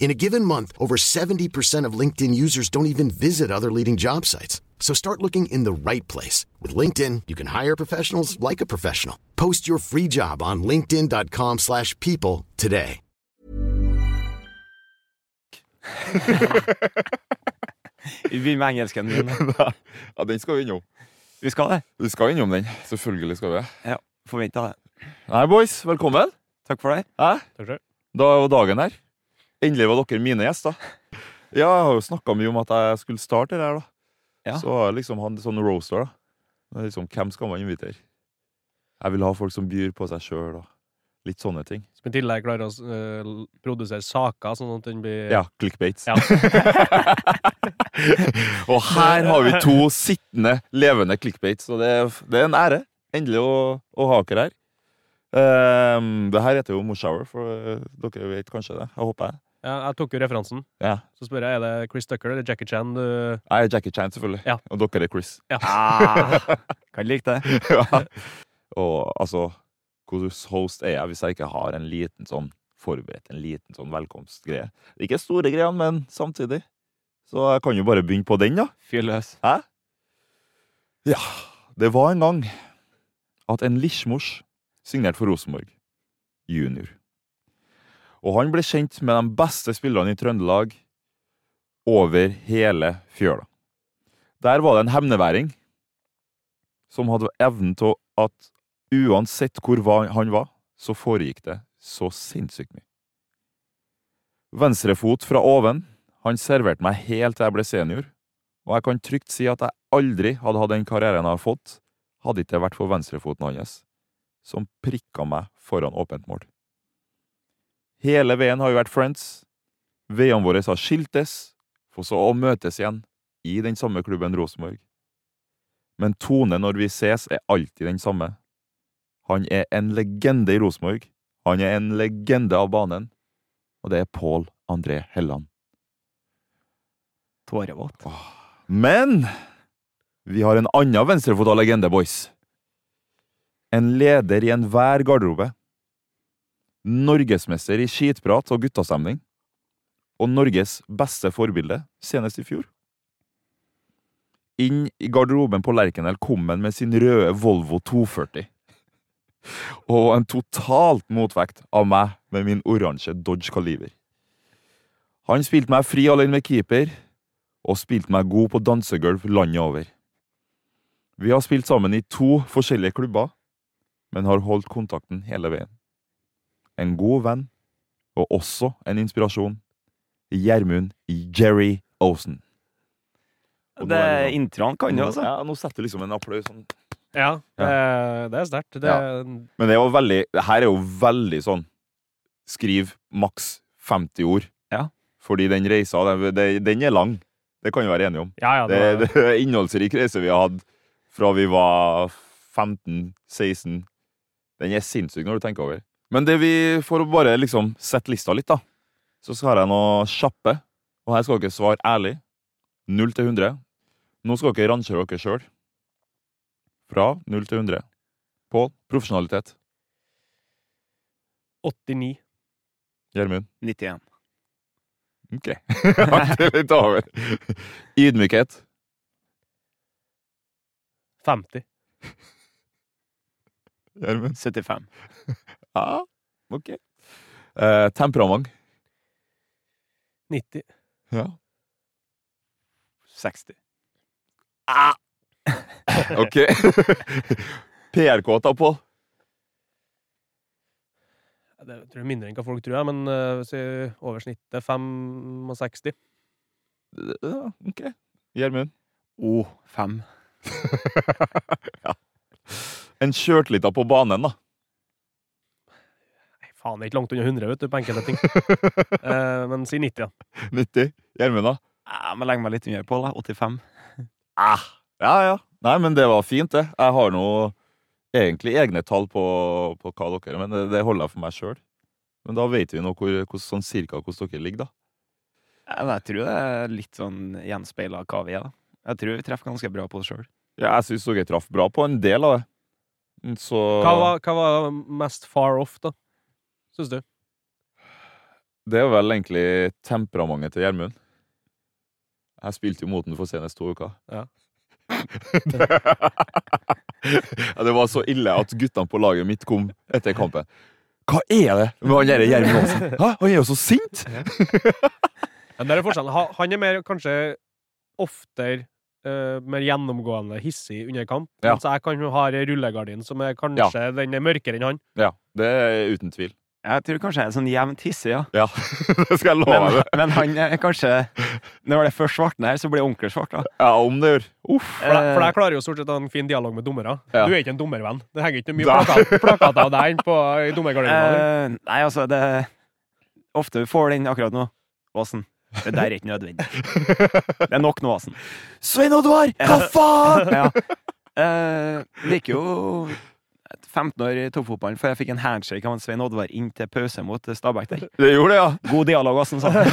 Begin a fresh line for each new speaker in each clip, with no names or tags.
In a given month, over 70% of LinkedIn users don't even visit other leading job sites. So start looking in the right place. With LinkedIn, you can hire professionals like a professional. Post your free job on linkedin.com slash people today.
Vi begynner med engelsken din.
ja, den skal vi innom.
Vi skal det.
Vi skal innom den. Selvfølgelig skal vi det.
Ja, Forventa det.
Nei, boys. Velkommen.
Takk for det.
Hæ?
Takk for det.
Da var dagen her. Endelig var dere mine gjester. Ja, jeg har jo snakka mye om at jeg skulle starte det her, da.
Ja.
Så har jeg liksom han sånn roaster, da. Det er liksom, hvem skal man invitere? Jeg vil ha folk som byr på seg sjøl, og litt sånne ting.
Som i tillegg klarer å eh, l- produsere saker, sånn at den blir
Ja, clickbaits.
Ja.
og her har vi to sittende, levende clickbaits, så det, er- det er en ære endelig å, å ha dere her. Ehm, det her heter jo Morshower, for eh, dere vet kanskje det. Jeg håper jeg.
Ja, jeg tok jo referansen.
Ja.
Så spør jeg er det Chris Ducker eller Jackie Chan du
Jeg er Jackie Chan, selvfølgelig.
Ja.
Og dere er Chris.
Ja.
Ah, Kan like det.
ja. Og altså, hvordan host er jeg hvis jeg ikke har en liten sånn forberedt, en liten sånn velkomstgreie? Ikke store greiene, men samtidig. Så jeg kan jo bare begynne på den, da.
Fyr løs.
Hæ? Ja, det var en gang at en lisjmors signerte for Rosenborg junior. Og han ble kjent med de beste spillerne i Trøndelag over hele fjøla. Der var det en hemneværing som hadde evnen til at uansett hvor va- han var, så foregikk det så sinnssykt mye. Venstrefot fra oven. Han serverte meg helt til jeg ble senior og jeg kan trygt si at jeg aldri hadde hatt den karrieren jeg har fått, hadde ikke det vært for venstrefoten hans, som prikka meg foran åpent mål. Hele veien har vi vært friends. Veiene våre har skiltes, for så å møtes igjen, i den samme klubben Rosenborg. Men tonen når vi ses, er alltid den samme. Han er en legende i Rosenborg. Han er en legende av banen. Og det er Pål André Helland.
Tårevåt.
Men vi har en annen venstrefota legende, boys. En leder i enhver garderobe. Norgesmester i skitprat og guttastemning. Og Norges beste forbilde, senest i fjor. Inn i garderoben på Lerkendal kom han med sin røde Volvo 240. Og en totalt motvekt av meg med min oransje Dodge Caliber. Han spilte meg fri alene med keeper, og spilte meg god på dansegulv landet over. Vi har spilt sammen i to forskjellige klubber, men har holdt kontakten hele veien. En god venn, og også en inspirasjon, Gjermund Jerry Osen. Og nå
Det
er det sånn-
introen kan jo, altså.
Ja, nå setter du liksom en applaus sånn.
Ja, Det, det er sterkt. Det,
Ja. Men det er jo veldig, det her er jo veldig sånn Skriv maks 50 ord.
Ja.
Fordi den reisa, den, den- den er lang. Det kan vi være enige om.
ja, ja,
Det,
det,
det er en innholdsrik reise vi har hatt fra vi var 15-16. Den er sinnssyk når du tenker over. Men det vi, for å bare liksom sette lista litt, da, så skal jeg nå kjappe. Og her skal dere svare ærlig. 0 til 100. Nå skal dere rangere dere sjøl. Fra 0 til 100. På profesjonalitet.
89.
Gjermund.
91.
Ok. Det er litt over. Ydmykhet.
50.
Gjermund.
75.
Ja, ok. Eh, temperament.
90.
Ja.
60.
Ok. PR-kåta, Pål.
Det er- jeg tror jeg er mindre enn hva folk tror, jeg, men eh, hvis jeg over snittet 65.
Ja, ok. Gjermund.
O, fem.
ja. En kjørtlita på banen, da.
Nei, faen, det er ikke langt unna 100 vet du, på enkelte ting. Eh, men si 90, ja.
90. Gjermund, da?
Ja, men legg meg litt under på, da. 85.
Ah. Ja, ja. Nei, men det var fint, det. Jeg har nå egentlig egne tall på, på hva dere Men det, det holder jeg for meg sjøl. Men da vet vi nå hvor, hvor, sånn cirka hvordan dere ligger, da.
Ja, men jeg tror det er litt sånn gjenspeila hva vi er, da. Jeg tror vi treffer ganske bra på oss sjøl.
Ja, jeg syns dere traff bra på en del av det. Mm, Så
Hva var, hva var mest far off, da? Syns du?
Det er vel egentlig temperamentet til Gjermund. Jeg spilte jo mot den for senest to uker.
Ja.
ja, det var så ille at guttene på laget mitt kom etter kampen. Hva er det med han der Gjermund Aasen? Hæ? Han er jo så sint!
Men der er forskjellen. Ha- Han er mer, kanskje oftere eh, mer gjennomgående hissig under kamp.
Ja.
Mens jeg kan jo ha ei rullegardin som er kanskje den er mørkere enn han.
Ja, det er uten tvil.
Jeg tror kanskje jeg er sånn jevnt hissig, ja.
Ja, det skal jeg love
Men,
deg.
men han er kanskje Når det først svartner her, så blir onkel svart, da.
Ja, om det gjør. Uff.
For, jeg- for jeg klarer jo stort sett å ha en fin dialog med dommere.
Ja.
Du er ikke en dommervenn. Det henger ikke mye
Da.
plakat, plakater av deg på i dommergardina.
Eh, nei, altså, det Ofte vi får den akkurat nå. Åsen. Det der er ikke nødvendig. Det er nok nå, Åsen.
Svein Oddvar, hva faen?!
Ja. Eh, det gikk jo 15 år i toppfotballen før jeg fikk en handshake av en Svein Oddvar inn til pause mot Stabæk der.
Det gjorde det, ja.
God dialog, Åsen, sa han.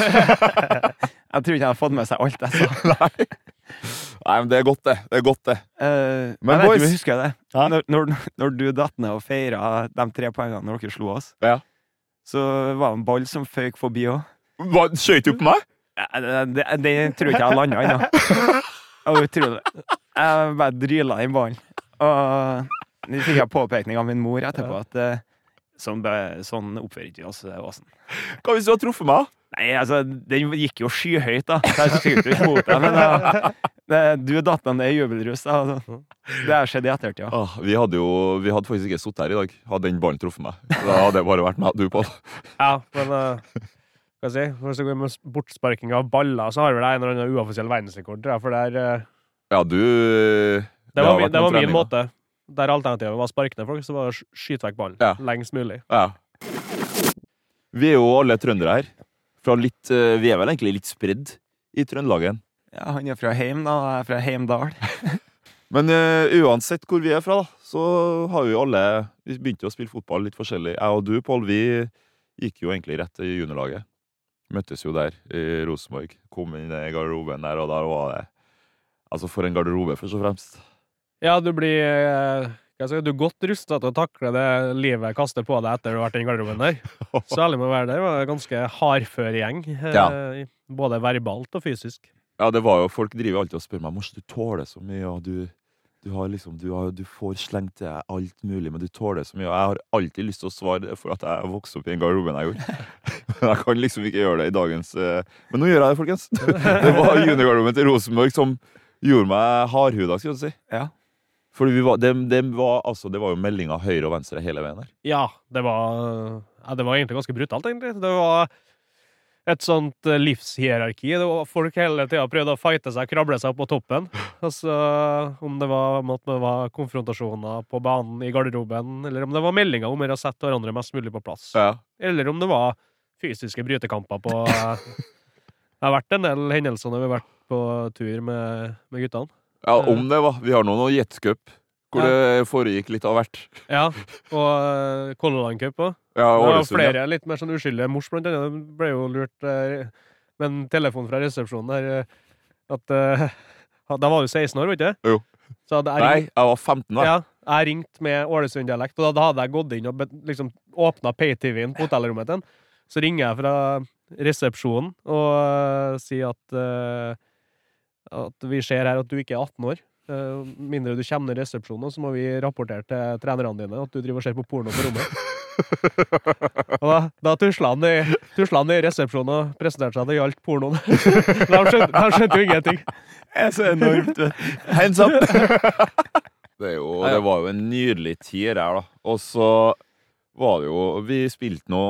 Jeg tror ikke jeg har fått med seg alt jeg sa.
Nei. Nei, men det er godt, det. Det er godt, det.
Eh,
Men
jeg vet ikke om
boys-
jeg husker det. Når, når, når du datt ned og feira de tre poengene når dere slo oss,
Ja.
så var det en ball som føyk forbi òg.
Hva, Skøyt du på meg?
Eh, Det, det, det tror jeg ikke jeg landa ennå. Det var Utrolig. Jeg bare dryla den ballen. Og nå fikk jeg påpekning av min mor etterpå at eh, sånn, be- sånn oppfører ikke vi oss, Åsen.
Hva hvis du har truffet meg?
Nei, altså, den gikk jo skyhøyt, da. Så jeg skjøt jo ikke mot deg, men eh, det- du datt ned i jubelrus. da, altså. Det har skjedd i ettertid. Ja.
Ah, vi hadde jo vi hadde faktisk ikke sittet her i dag, hadde den ballen truffet meg. Da hadde det bare vært meg og du, Pål.
Ja, men eh, hva skal jeg si? Hvis det går med s- bortsparking av baller, så har vel jeg en eller annen uoffisiell verdensrekord. tror jeg, For der, eh,
Ja, du
det
har
var, min,
vært noen
det var min
treninger.
måte. Der alternativet var å sparke ned folk, så var det å sk- skyte vekk ballen
Ja.
lengst mulig.
Ja. Vi er jo alle trøndere her. Fra litt, eh, vi er vel egentlig litt spredd i Trøndelagen.
Ja, han er fra Heim, da. og Jeg er fra Heimdal.
Men eh, uansett hvor vi er fra, da, så har vi alle Vi begynte jo å spille fotball litt forskjellig. Jeg og du, Pål, vi gikk jo egentlig rett til juniorlaget. Møttes jo der i Rosenborg. Kom inn i garderoben der, og der var det Altså, for en garderobe, først og fremst.
Ja, du blir eh, hva skal jeg si, Du er godt rusta til å takle det livet kaster på deg etter du har vært i den garderoben der. Særlig med å være der. var det en ganske hardfør gjeng. eh,
Ja.
i- Både verbalt og fysisk.
Ja, det var jo, folk driver jo alltid og spør meg Mors, du tåler så mye, og du, du har liksom du, har, du får slengt til deg alt mulig, men du tåler så mye. Og jeg har alltid lyst til å svare det for at jeg vokste opp i den garderoben jeg gjorde. Men jeg kan liksom ikke gjøre det i dagens eh, Men nå gjør jeg det, folkens. Det var juniorgarderoben til Rosenborg som gjorde meg hardhuda, skal du si.
Ja.
Fordi vi var, det, det, var, altså, det var jo meldinger høyre og venstre hele veien her.
Ja, det var, ja, det var egentlig ganske brutalt, egentlig. Det var et sånt eh, livshierarki. Det var folk hele tida prøvde å fighte seg, krable seg opp på toppen. Altså, om det var, om at det var konfrontasjoner på banen i garderoben, eller om det var meldinger om å sette hverandre mest mulig på plass. Eller om det var fysiske brytekamper på eh, Det har vært en del hendelser når vi har vært på tur med, med guttene.
Ja, om det, hva. Vi har nå noe jetcup hvor det foregikk litt av hvert.
Ja, Og eh, Color Line Cup òg.
Ja,
Det var
Ålesund. ja.
flere litt mer sånn uskyldige mors, blant annet. Det ble jo lurt eh, med en telefon fra resepsjonen der eh, at eh, ha- Da var du 16 år, var du ikke?
Jo.
Så hadde jeg
Nei,
ringt,
jeg var 15 da.
ja, jeg ringte med Ålesund-dialekt, og da- da hadde jeg gått inn og be- liksom åpna PayTV-en på hotellrommet til den. Så ringer jeg fra resepsjonen og eh, sier at eh, at vi ser her at du ikke er 18 år. eh, mindre du kommer ned i resepsjonen, så må vi rapportere til trenerne dine at du driver og ser på porno på rommet. Og da, da tusla han i, tusla han i resepsjonen og presenterte seg det gjaldt pornoen. De skjønte, de skjønte jo ingenting.
er så enormt. vet du.
Hands up! det, er jo, det var jo en nydelig tid her, da. Og så var det jo Vi spilte nå,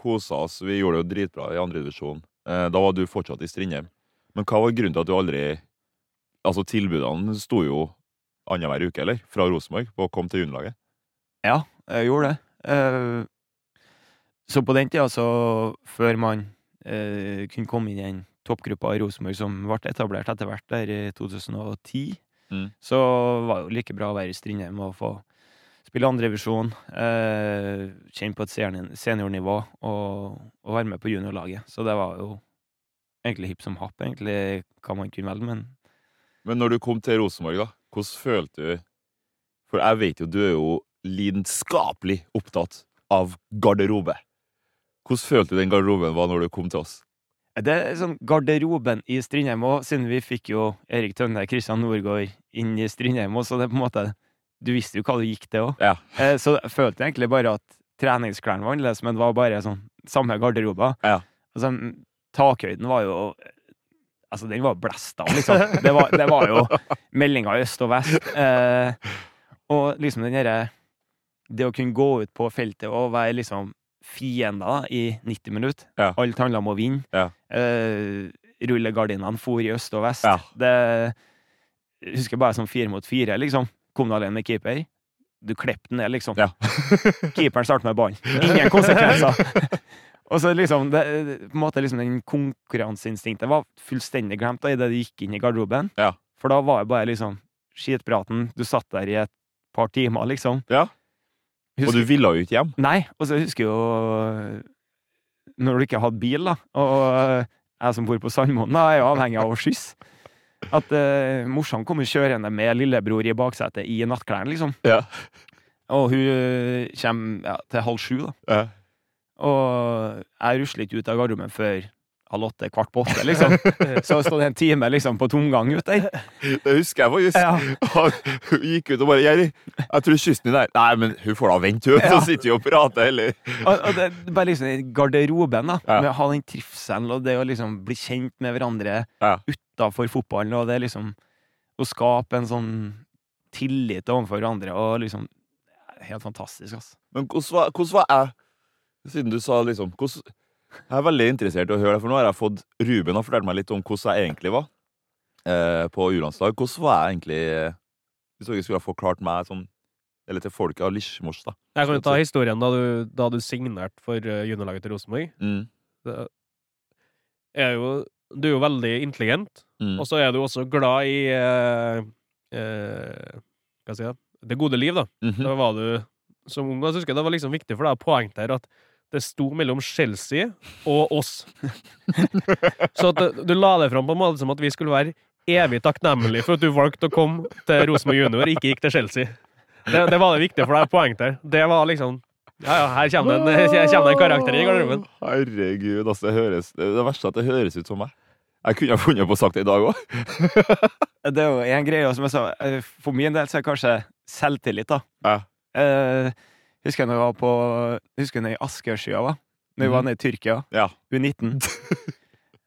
kosa oss, vi gjorde det jo dritbra i andre divisjon. Eh, Da var du fortsatt i Strindheim. Men hva var grunnen til at du aldri Altså, tilbudene sto jo annenhver uke, eller? Fra Rosenborg, på å komme til juniorlaget.
Ja, jeg gjorde det. Eh, Så på den tida, så før man eh, kunne komme inn i den toppgruppa i Rosenborg som ble etablert etter hvert der i 2010,
Mm.
så var det jo like bra å være i Strindheim og få spille andrevisjon, eh, kjenne på et senior- seniornivå og, og være med på juniorlaget. Så det var jo egentlig hipp som happ, egentlig, hva man kunne velge, men
Men når du kom til Rosenborg, da, hvordan følte du For jeg vet jo du er jo lidenskapelig opptatt av garderobe. Hvordan følte du den garderoben var når du kom til oss?
Det er sånn garderoben i Strindheim òg, siden vi fikk jo Erik Tønne, Kristian Norgård inn i Strindheim òg, så det er på en måte Du visste jo hva du gikk til òg.
Ja.
Eh, så jeg følte egentlig bare at treningsklærne var annerledes, men det var bare sånn samme garderober.
Ja.
Altså, m, takhøyden var jo Altså, den var blæsta, liksom. Det var, det var jo meldinger i øst og vest. Eh, og liksom den derre Det å kunne gå ut på feltet og være liksom fiender da, i 90 minutter.
Ja.
Alt handla om å vinne.
Ja.
Eh, rullegardinene for i øst og vest.
Ja.
Det jeg husker bare som fire mot fire, liksom. Kom du alene med keeper? Du klippte den ned, liksom.
Ja.
Keeperen starter med ballen. Ingen konsekvenser! Og så liksom, det, på en måte liksom den konkurranseinstinktet var fullstendig glemt da, idet du gikk inn i garderoben.
Ja.
For da var det bare liksom skitpraten. Du satt der i et par timer, liksom.
Ja. Og du ville jo ikke hjem.
Nei, og så husker jeg jo Når du ikke hadde bil, da, og jeg som bor på Sandmoen, da, er jo avhengig av å skysse. At eh, morsan kommer kjørende med lillebror i baksetet i nattklærne, liksom.
Ja.
Og hun eh, kommer ja, til halv sju, da.
Ja.
Og jeg rusler ikke ut av garderoben før halv åtte, kvart på åtte, liksom. Så står det en time liksom på tomgang ut der.
Det husker jeg faktisk. Han hun gikk ut og bare 'Jerry, jeg tror kysten din er Nei, men hun får da vente, hun. Så sitter vi og prater heller.
Og, og det, det er bare liksom i garderoben, da.
Ja.
Med å ha den trivselen og det å liksom bli kjent med hverandre
Ja.
utafor fotballen, og det er liksom Å skape en sånn tillit overfor hverandre og liksom Helt fantastisk, altså.
Men hvordan var, hvordan var jeg? Siden du sa liksom hvordan, Jeg er veldig interessert i å høre det, for nå har jeg fått Ruben har fortalt meg litt om hvordan jeg egentlig var eh, på U-landslag. Hvordan var jeg egentlig eh, Hvis dere skulle ha forklart meg sånn Eller til folket av Lisjmors, da.
Jeg kan jo ta historien da du, da du signerte for eh, juniorlaget til Rosenborg.
Mm,
Det er jo, du er jo veldig intelligent,
mm,
og så er du også glad i eh, eh, Hva skal jeg si? da? Det gode liv, da.
mhm,
Da var du som ung. og Jeg husker det var liksom viktig for deg å poengtere at det sto mellom Chelsea og oss. Så at du la det fram på en måte som at vi skulle være evig takknemlige for at du valgte å komme til Rosenborg junior og ikke gikk til Chelsea. Det, det var det viktige for deg å poengtere. Det var liksom Ja, ja, her kommer det en, her kommer det en karakter i garderoben.
Herregud, altså. Det, høres, det det verste er at det høres ut som meg. Jeg kunne ha funnet på å sagt det i dag òg.
Det er jo en greie og som jeg sa, eh, for min del så er kanskje selvtillit, da.
Ja.
Eh, husker jeg når jeg var på Husker jeg når jeg i Askøyskya, da. Når vi var
Mhm.
nede i Tyrkia.
Ja.
U19.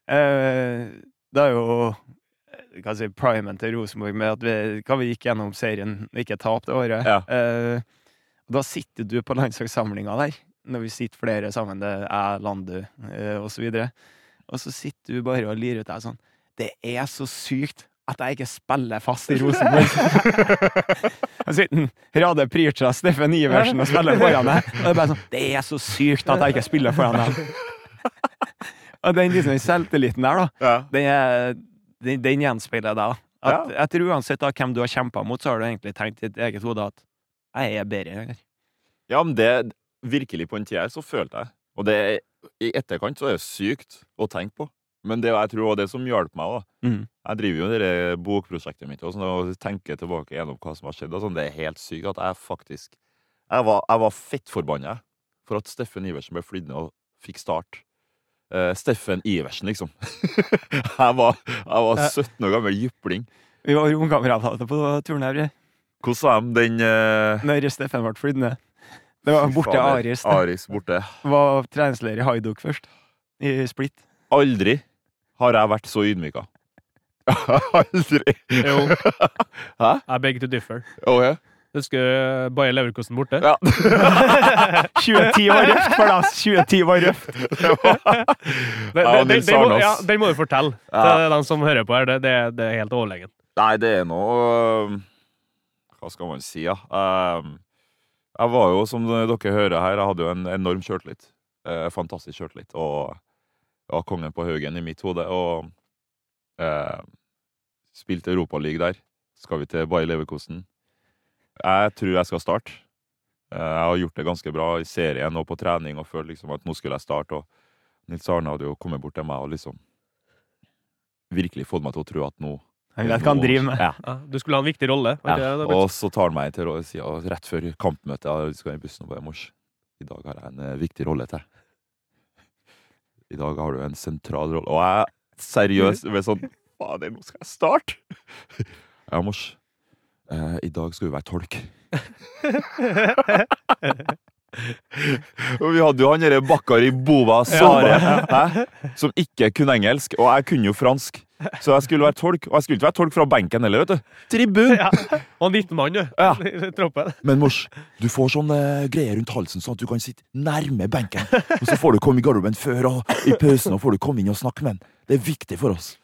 eh, det er jo eh, hva skal jeg si, primen til Rosenborg med at vi, hva vi gikk gjennom serien og ikke tapte året.
Ja.
Eh, og da sitter du på landslagssamlinga der, når vi sitter flere sammen, det er jeg, Landu eh, og så videre. Og så sitter du bare og lirer ut deg sånn Det er så sykt at jeg ikke spiller fast i Rosenborg! Og så sitter han, Rade Prircha, Steffen Iversen, og spiller foran deg. Og det er bare sånn Det er så sykt at jeg ikke spiller foran deg! Og den liksom, selvtilliten der, da,
ja.
den, er, den, den gjenspeiler deg. da. At, Jeg tror uansett da, hvem du har kjempa mot, så har du egentlig tenkt i ditt eget hode at jeg er bedre. enn dere».
Ja, men det virkelig på en tid her, så følte jeg. Og det er- i etterkant så er det sykt å tenke på. Men det jeg tror var det som hjalp meg òg.
Mhm.
Jeg driver jo det der eh, bokprosjektet mitt og, sånn, og tenker tilbake gjennom hva som har skjedd. Og sånn. Det er helt sykt at jeg faktisk Jeg var, jeg var fettforbanna for at Steffen Iversen ble flydd ned og fikk start. Eh, Steffen Iversen, liksom. jeg, var, jeg var
Ja.
17 år gammel jypling
Vi var romkamerater på turen her
Hvordan sa de den eh,
når Steffen ble flydd ned. Det var borte
fader,
Aris. da.
Aris borte.
Var treningsleder i Haidok først. I Split.
Aldri har jeg vært så ydmyka. Aldri!
Jo,
Hæ?
I beg to differ.
Oh, ja.
Husker du Bayer Leverkosten borte?
Ja.
2010 var røft for deg! 2010 var røft.
Det var-
Den,
Ja,
den, den,
Nils
den, må,
Arnås.
ja, den må du fortelle
Ja.
til dem som hører på her. Det, det, det er helt overlegent.
Nei, det er noe øhm, Hva skal man si, da? Øhm, Jeg var jo, som dere hører her, jeg hadde jo en enorm sjøltillit. Eh, Fantastisk sjøltillit. Og jeg var kongen på Haugen i mitt hode. Og eh, spilte Europaliga der. Skal vi til Bayer Leverkosten? Jeg tror jeg skal starte. Eh, Jeg har gjort det ganske bra i serien og på trening og følte liksom at nå skulle jeg starte. Og Nils Arne hadde jo kommet bort til meg og liksom virkelig fått meg til å tro at nå
Han vet hva han driver med.
Ja.
Ja, du skulle ha en viktig rolle. var ikke
Ja,
det, Dagbjørn?
og så tar han meg til råd sida rett før kampmøtet. Ja, vi skal i bussen og bare Mors, i dag har jeg en eh, viktig rolle til. I dag har du en sentral rolle. Og jeg seriøst ble sånn Fader, nå skal jeg starte! Ja, Mors. Eh, I dag skal du være tolk. og vi hadde jo han derre Bakkari Bova Sare, hæ? som ikke kunne engelsk, og jeg kunne jo fransk. Så jeg skulle være tolk, og jeg skulle ikke være tolk fra benken heller, vet du. Tribun!
Ja. Og 19 mann, du.
Ja.
I troppen.
Men mors, du får sånn eh, greie rundt halsen, sånn at du kan sitte nærme benken. Og så får du komme i garderoben før og i pausen, og får du komme inn og snakke med den. Det er viktig for oss.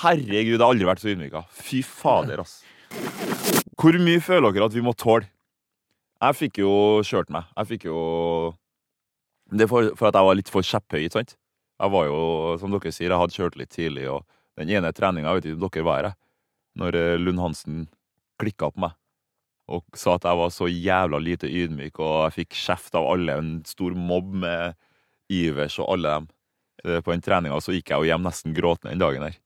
Herregud, jeg har aldri vært så ydmyka. Fy fader, ass. Hvor mye føler dere at vi må tåle? Jeg fikk jo kjørt meg. Jeg fikk jo Det er for, for at jeg var litt for kjepphøy, ikke sant? Jeg var jo, som dere sier, jeg hadde kjørt litt tidlig, og den ene treninga, jeg vet ikke om dere var her, jeg, når eh, Lund Hansen klikka på meg og sa at jeg var så jævla lite ydmyk, og jeg fikk kjeft av alle, en stor mobb med Ivers og alle dem. Eh, På den treninga så gikk jeg jo hjem nesten gråtende den dagen her.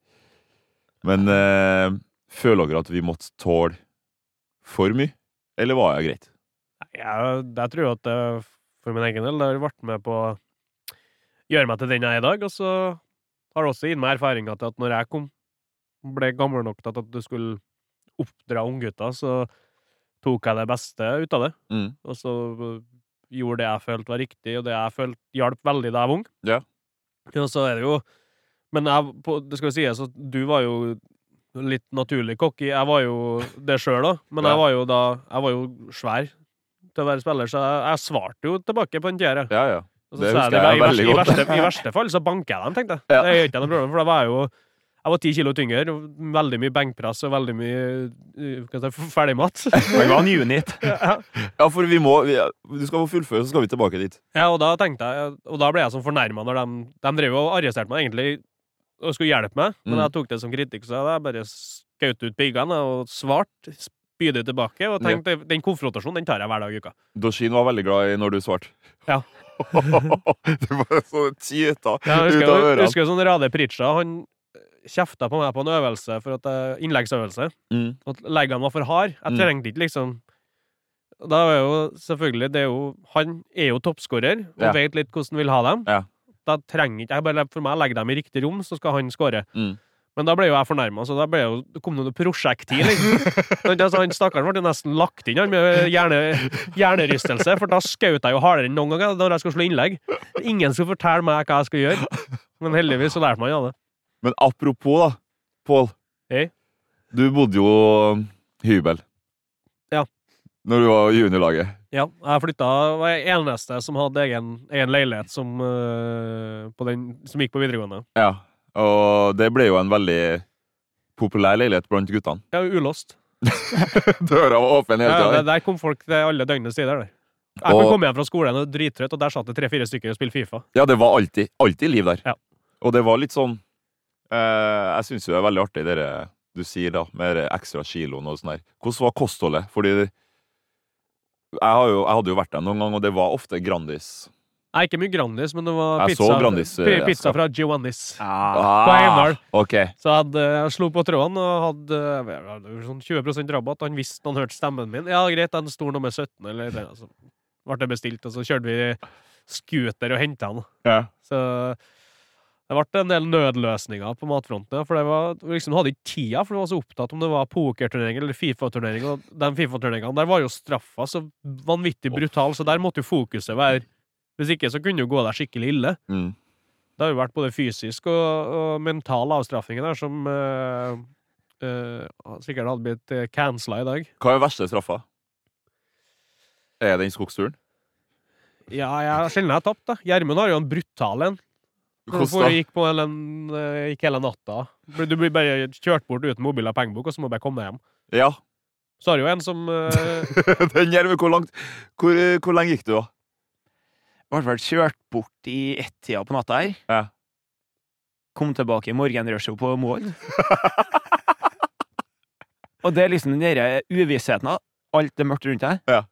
Men eh, føler dere at vi måtte tåle for mye, eller var det greit?
Nei, Jeg, jeg tror at eh, for min egen del det har vært med på å gjøre meg til den jeg er i dag. Og så har det også gitt meg erfaringa til at når jeg kom, ble gammel nok til at at du skulle oppdra unggutter, så tok jeg det beste ut av det.
Mm.
Og så øh, gjorde det jeg følte var riktig, og det jeg følte hjalp veldig da jeg var ung.
Ja.
Og så er det jo Men jeg, på, det skal jo sies at du var jo litt naturlig cocky. Jeg var jo det sjøl òg, men
Ja.
jeg var jo da Jeg var jo svær til å være spiller, så jeg, jeg svarte jo tilbake på den tieren.
Ja, ja.
Og
Det
så sa
husker
jeg det,
jeg
i, verste,
veldig
i,
godt.
verste, I verste fall så banker jeg dem, tenkte jeg.
Ja.
Det gjør ikke jeg noe problem, for da var jeg jo jeg var ti kilo tyngre, og veldig mye benkpress og veldig mye øh, hva skal jeg si, ferdigmat.
Han var en unit.
ja.
Ja, for vi må vi, Du skal få fullføre, så skal vi tilbake dit.
Ja, og da tenkte jeg Og da ble jeg sånn fornærma når de, de drev og arresterte meg egentlig og skulle hjelpe meg, men
Mm.
jeg tok det som kritikk, så jeg bare skjøt ut piggene og svarte spydig tilbake, og tenkte den konfrontasjonen den tar jeg hver dag i uka.
Doshin var veldig glad i når du svarte.
Ja.
det var sånn tyta
Jeg
ut
husker,
av
jeg
ørene.
husker sånn Rade Pritcha, han kjefta på meg på en øvelse, for at jeg- innleggsøvelse,
Mm.
at leggene var for hard. Jeg
Mm.
trengte ikke liksom Da er jo selvfølgelig det er jo, Han er jo toppskårer og
Ja.
vet litt hvordan han vil ha dem.
Ja.
Da trenger ikke jeg bare For meg legger dem i riktig rom, så skal han skåre.
Mm.
Men da ble jo jeg fornærma, så da ble jo, det kom det noe prosjektil. Liksom. Men altså, han stakkaren ble jo nesten lagt inn han med hjerne, hjernerystelse, for da skjøt jeg jo hardere enn noen gang når jeg skulle slå innlegg. Ingen skulle fortelle meg hva jeg skulle gjøre. Men heldigvis så lærte man av det.
Men apropos, da, Pål.
Hei.
Du bodde jo um, hybel.
Ja.
Når du var i juniorlaget.
Ja, jeg flytta var jeg eneste som hadde egen, egen leilighet som, eh, på den, som gikk på videregående.
Ja. Og det ble jo en veldig populær leilighet blant guttene.
Ja, ulåst.
Døra var åpen hele
Ja,
tida.
det- der kom folk til alle døgnets tider. der. Jeg
Og-
kunne komme hjem fra skolen og drittrøtt, og der satt det tre-fire stykker og spilte Fifa.
Ja, det var alltid, alltid liv der.
Ja.
Og det var litt sånn eh, Jeg syns jo det er veldig artig, det der du sier, da, med de ekstra kiloen og sånn der. Hvordan var kostholdet? Fordi jeg, har jo, jeg hadde jo vært der noen ganger, og det var ofte Grandis.
Nei, ikke mye Grandis, men det var
Jeg så
pizza,
Grandis, eh,
pi-
jeg skal-
pizza fra Giovannis. på
Ah,
Heimdal.
ok.
Så jeg, hadde, jeg slo på tråden og hadde eh, vel, det var sånn 20 rabatt. Han visste han hørte stemmen min. Ja, greit, den står nummer 17, eller det. Altså, ble det bestilt, og så kjørte vi scooter og henta han.
Ja.
Så Det ble en del nødløsninger på matfronten. ja, For det var, liksom, du hadde ikke tida, for du var så opptatt om det var pokerturnering eller Fifa-turnering. Og de Fifa-turneringene der var jo straffa så vanvittig brutal, så der måtte jo fokuset være Hvis ikke så kunne det jo gå deg skikkelig ille.
Mm.
Det har jo vært både fysisk og, og mental avstraffing der som eh, eh, sikkert hadde blitt eh, cancela i dag.
Hva er verste straffa? Er den skogsturen?
Ja, jeg har sjelden jeg har tapt, da. Gjermund har jo en brutal en. Når du
Hvordan
får-
da?
gikk, på hele, eh, gikk hele natta. Du blir bare kjørt bort uten mobil og pengebok, og så må du bare komme deg hjem.
Ja.
Så har du jo en som eh,
den der, men hvor langt hvor, eh, hvor lenge gikk du, da?
Ble vel kjørt bort i ett-tida på natta her.
Ja.
Kom tilbake i morgenrushet på mål. Og det er liksom den der uvissheten av alt det mørkt rundt deg.
Ja.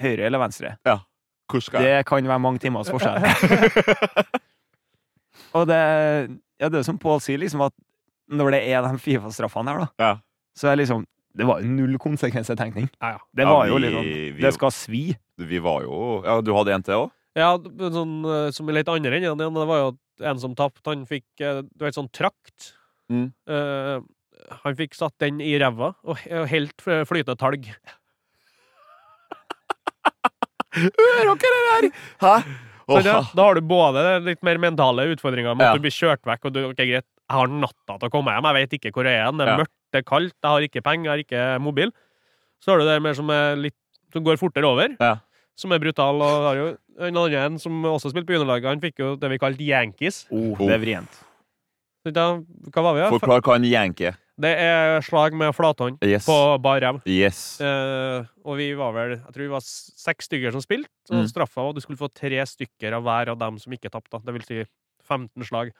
Høyre eller venstre.
Hvor skal jeg?
Det kan være mange timers forskjell. Og det, ja, det er som Pål sier, liksom at når det er de Fifa-straffene her, da,
Ja.
så er liksom Det var jo null konsekvensetenkning.
Ja, ja.
Det
Ja,
var jo
vi-
liksom
vi-
Det skal svi.
Vi var jo Ja, du hadde en til òg?
Ja, men sånn, eh, som i litt andre enden igjen, det var jo at en som tapte, han fikk eh, Du vet, sånn trakt.
Mm.
Eh, han fikk satt den i ræva og he- og helt eh, flytende talg.
Hører dere det her? Hæ?
Så
Sånn,
Åh,
da, da har du både det litt mer mentale utfordringer med
Ja.
at du blir kjørt vekk, og du Ok, greit, jeg har natta til å komme hjem, jeg vet ikke hvor jeg er, det er
Ja.
mørkt, det er kaldt, jeg har ikke penger, jeg har ikke mobil. Så har du det mer som er litt Som går fortere over,
Ja.
som er brutal, og har jo en annen en som også spilte på juniorlaget, han fikk jo det vi kalte Yankees.
Oh, det er vrient.
Så Da, hva var vi, da?
Forklar hva en yank er.
Det er slag med flathånd
Yes.
på bar ræv.
yes.
Eh, og vi var vel Jeg tror vi var s- seks stykker som spilte, og
Mm.
straffa var at du skulle få tre stykker av hver av dem som ikke tapte. Det vil si 15 slag.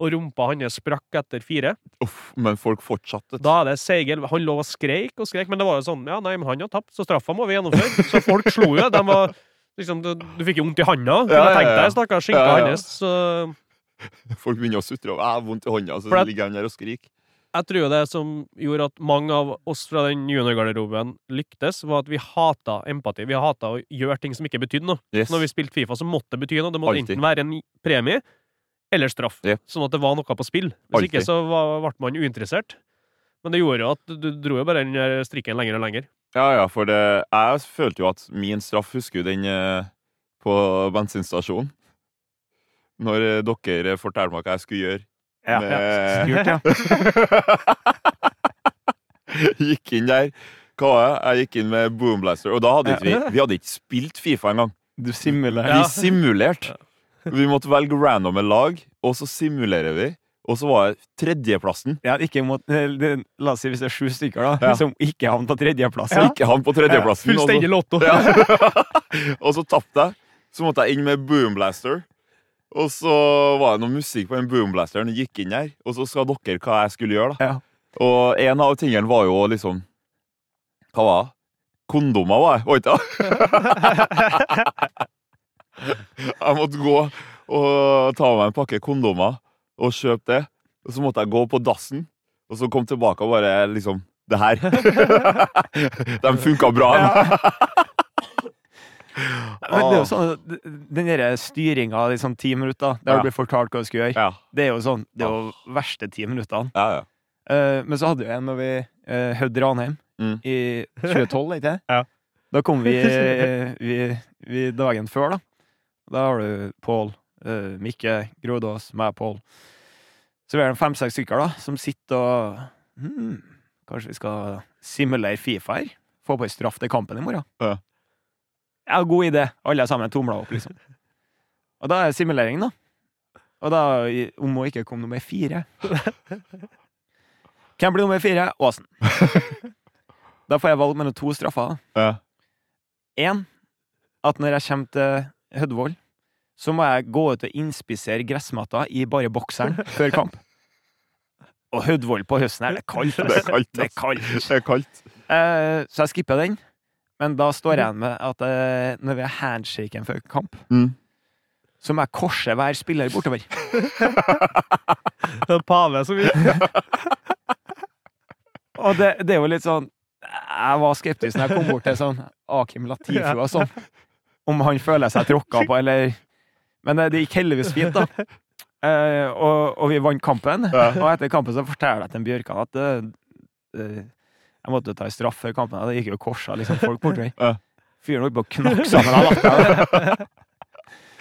Og rumpa hans sprakk etter fire.
Uff, men folk fortsatte.
Da er det seigel. Han lå og skreik og skreik, men det var jo sånn Ja, nei, men han har tapt, så straffa må vi gjennomføre. Så folk slo jo. De var liksom Du, du fikk jo vondt i handa. kunne
Ja, ja,
jeg tenkt
ja.
deg, stakkars skinka
Ja, ja.
hans. Så
Folk begynner å sutre og jeg har vondt i hånda, så
For at-
ligger han der og skriker.
jeg tror jo det som gjorde at mange av oss fra den juniorgarderoben lyktes, var at vi hata empati. Vi hata å gjøre ting som ikke betydde noe.
Yes.
Når vi spilte Fifa, så måtte det bety noe. Det måtte
Alltid.
enten være en premie eller straff.
Jep.
Sånn at det var noe på spill. Hvis
Alltid.
ikke så var, ble man uinteressert. Men det gjorde jo at du dro jo bare den der strikken lenger og lenger.
Ja, ja, for det, jeg følte jo at min straff, husker du den eh, på bensinstasjonen? Når eh, dere fortalte meg hva jeg skulle gjøre.
Ja.
Med-
Styrt, ja.
gikk inn der. Hva var det? Jeg gikk inn med boomblaster, og da hadde ikke vi,
Ja.
vi hadde ikke spilt Fifa engang.
Du simulerer.
Ja.
Vi simulerte. Vi måtte velge randome lag, og så simulerer vi. Og så var det tredjeplassen.
Ja, ikke mot, eh, det- la oss si hvis det er sju stykker, da,
Ja.
som ikke havner på tredjeplass.
Så gikk han på tredjeplassen. og så-
Fullstendig lotto!
Ja. og så tapte jeg. Så måtte jeg inn med boomblaster. Og så var det noe musikk på den boomblasteren, og gikk inn der. Og så sa dere hva jeg skulle gjøre. da.
Ja.
Og en av tingene var jo liksom Hva var det? Kondomer var jeg, var ikke det? jeg måtte gå og ta med meg en pakke kondomer og kjøpe det. Og så måtte jeg gå på dassen, og så kom tilbake og bare liksom Det her. De funka bra.
Men
Ah.
det er jo sånn, d- den der styringa i sånn ti minutter, der
Ja.
du blir fortalt hva du skal gjøre,
Ah, Ja. Ah.
det er jo sånn, det er jo verste ti minuttene.
Ja, ja.
Eh, men så hadde vi en når vi uh, høvde Ranheim
Mm.
i 2012, ikke det?
Ja.
Da kom vi, eh, vi, vi dagen før, da. Da har du Pål, eh, Mikke, Grodås, meg, Pål. Så vi er det fem-seks stykker da, som sitter og hmm, Kanskje vi skal simulere Fifa her? Få på en straff til kampen i morgen?
Ja.
Ja, god idé. Alle sammen tomla opp, liksom. Og da er simulering, da. Og da i- om hun ikke kom nummer fire. Hvem blir nummer fire? Åsen. Da får jeg valg mellom to straffer.
Ja.
Én, at når jeg kommer til Hødvold, så må jeg gå ut og innspissere gressmatta i bare bokseren før kamp. Og Hødvold på høsten her, det er kaldt.
Det er
ass.
kaldt.
Det er
ass.
kaldt.
Det er kaldt.
Eh, så jeg skipper den. Men da står jeg igjen med at eh, når vi har handshaken før kamp,
Mm.
så må jeg korse hver spiller bortover.
Det er pave som vi
Og det, det er jo litt sånn Jeg var skeptisk når jeg kom bort til sånn Akim Latifu og eh, sånn. Om han føler seg tråkka på, eller Men det, det gikk heldigvis fint, da. Eh, og, og vi vant kampen.
Ja.
Og etter kampen så forteller jeg til Bjørkan at eh, eh, jeg måtte ta en straff før kampen. og Det gikk jo korsa liksom, folk borti
Ja.
meg. Fyren holdt på å knakke sammen av latter.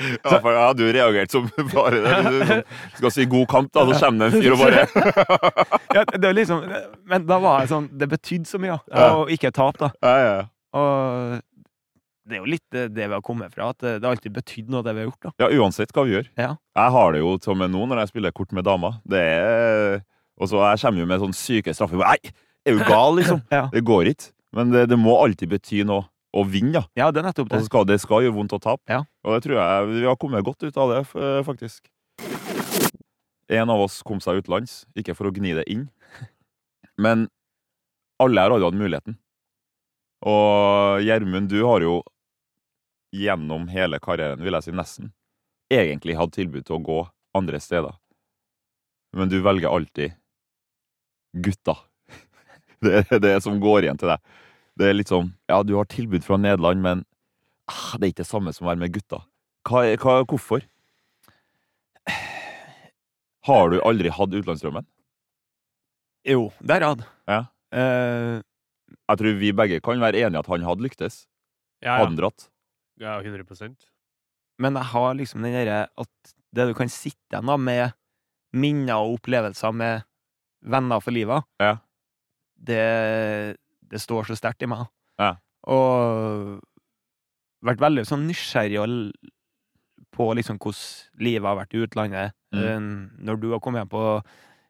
Ja, for, ja, du reagerte som bare det. Du, sånn, skal si god kamp, da, så kommer det en fyr og bare
Ja, det var liksom, men da var jeg sånn Det betydde så mye da,
Ja.
å ikke tape, da.
Ja, ja.
Og det er jo litt eh, det vi har kommet fra, at det har alltid betydd noe, det vi har gjort. da.
Ja, uansett hva vi gjør.
Ja.
Jeg har det jo som nå når jeg spiller kort med damer. Det er... Og så jeg kommer jo med sånne syke straffer. Nei, er du gal, liksom?
Ja.
Det går ikke. Men det, det må alltid bety noe å vinne, da.
Ja, det er nettopp
Og
det.
så skal det skal gjøre vondt å tape.
Ja.
Og det tror jeg vi har kommet godt ut av det, f- eh, faktisk. En av oss kom seg utenlands, ikke for å gni det inn, men alle her hadde jo hatt muligheten. Og Gjermund, du har jo gjennom hele karrieren, vil jeg si nesten, egentlig hatt tilbud til å gå andre steder. Men du velger alltid gutta. Det er det som går igjen til deg. Det er litt sånn, ja, du har tilbud fra Nederland, men ah, det er ikke det samme som å være med gutta. Hva, er- hva, hvorfor? Har du aldri hatt utenlandsdrømmen?
Jo, der hadde
Ja.
Eh,
Jeg tror vi begge kan være enige at han hadde lyktes.
Ja,
Hadde han dratt.
ja. ja 100
Men jeg har liksom den derre at det du kan sitte igjen da med minner og opplevelser med venner for livet,
Ja.
det, det står så sterkt i meg.
Ja.
Og vært veldig sånn nysgjerrig og l- på liksom hvordan livet har vært i utlandet.
Mm.
Eh, Når du har kommet hjem på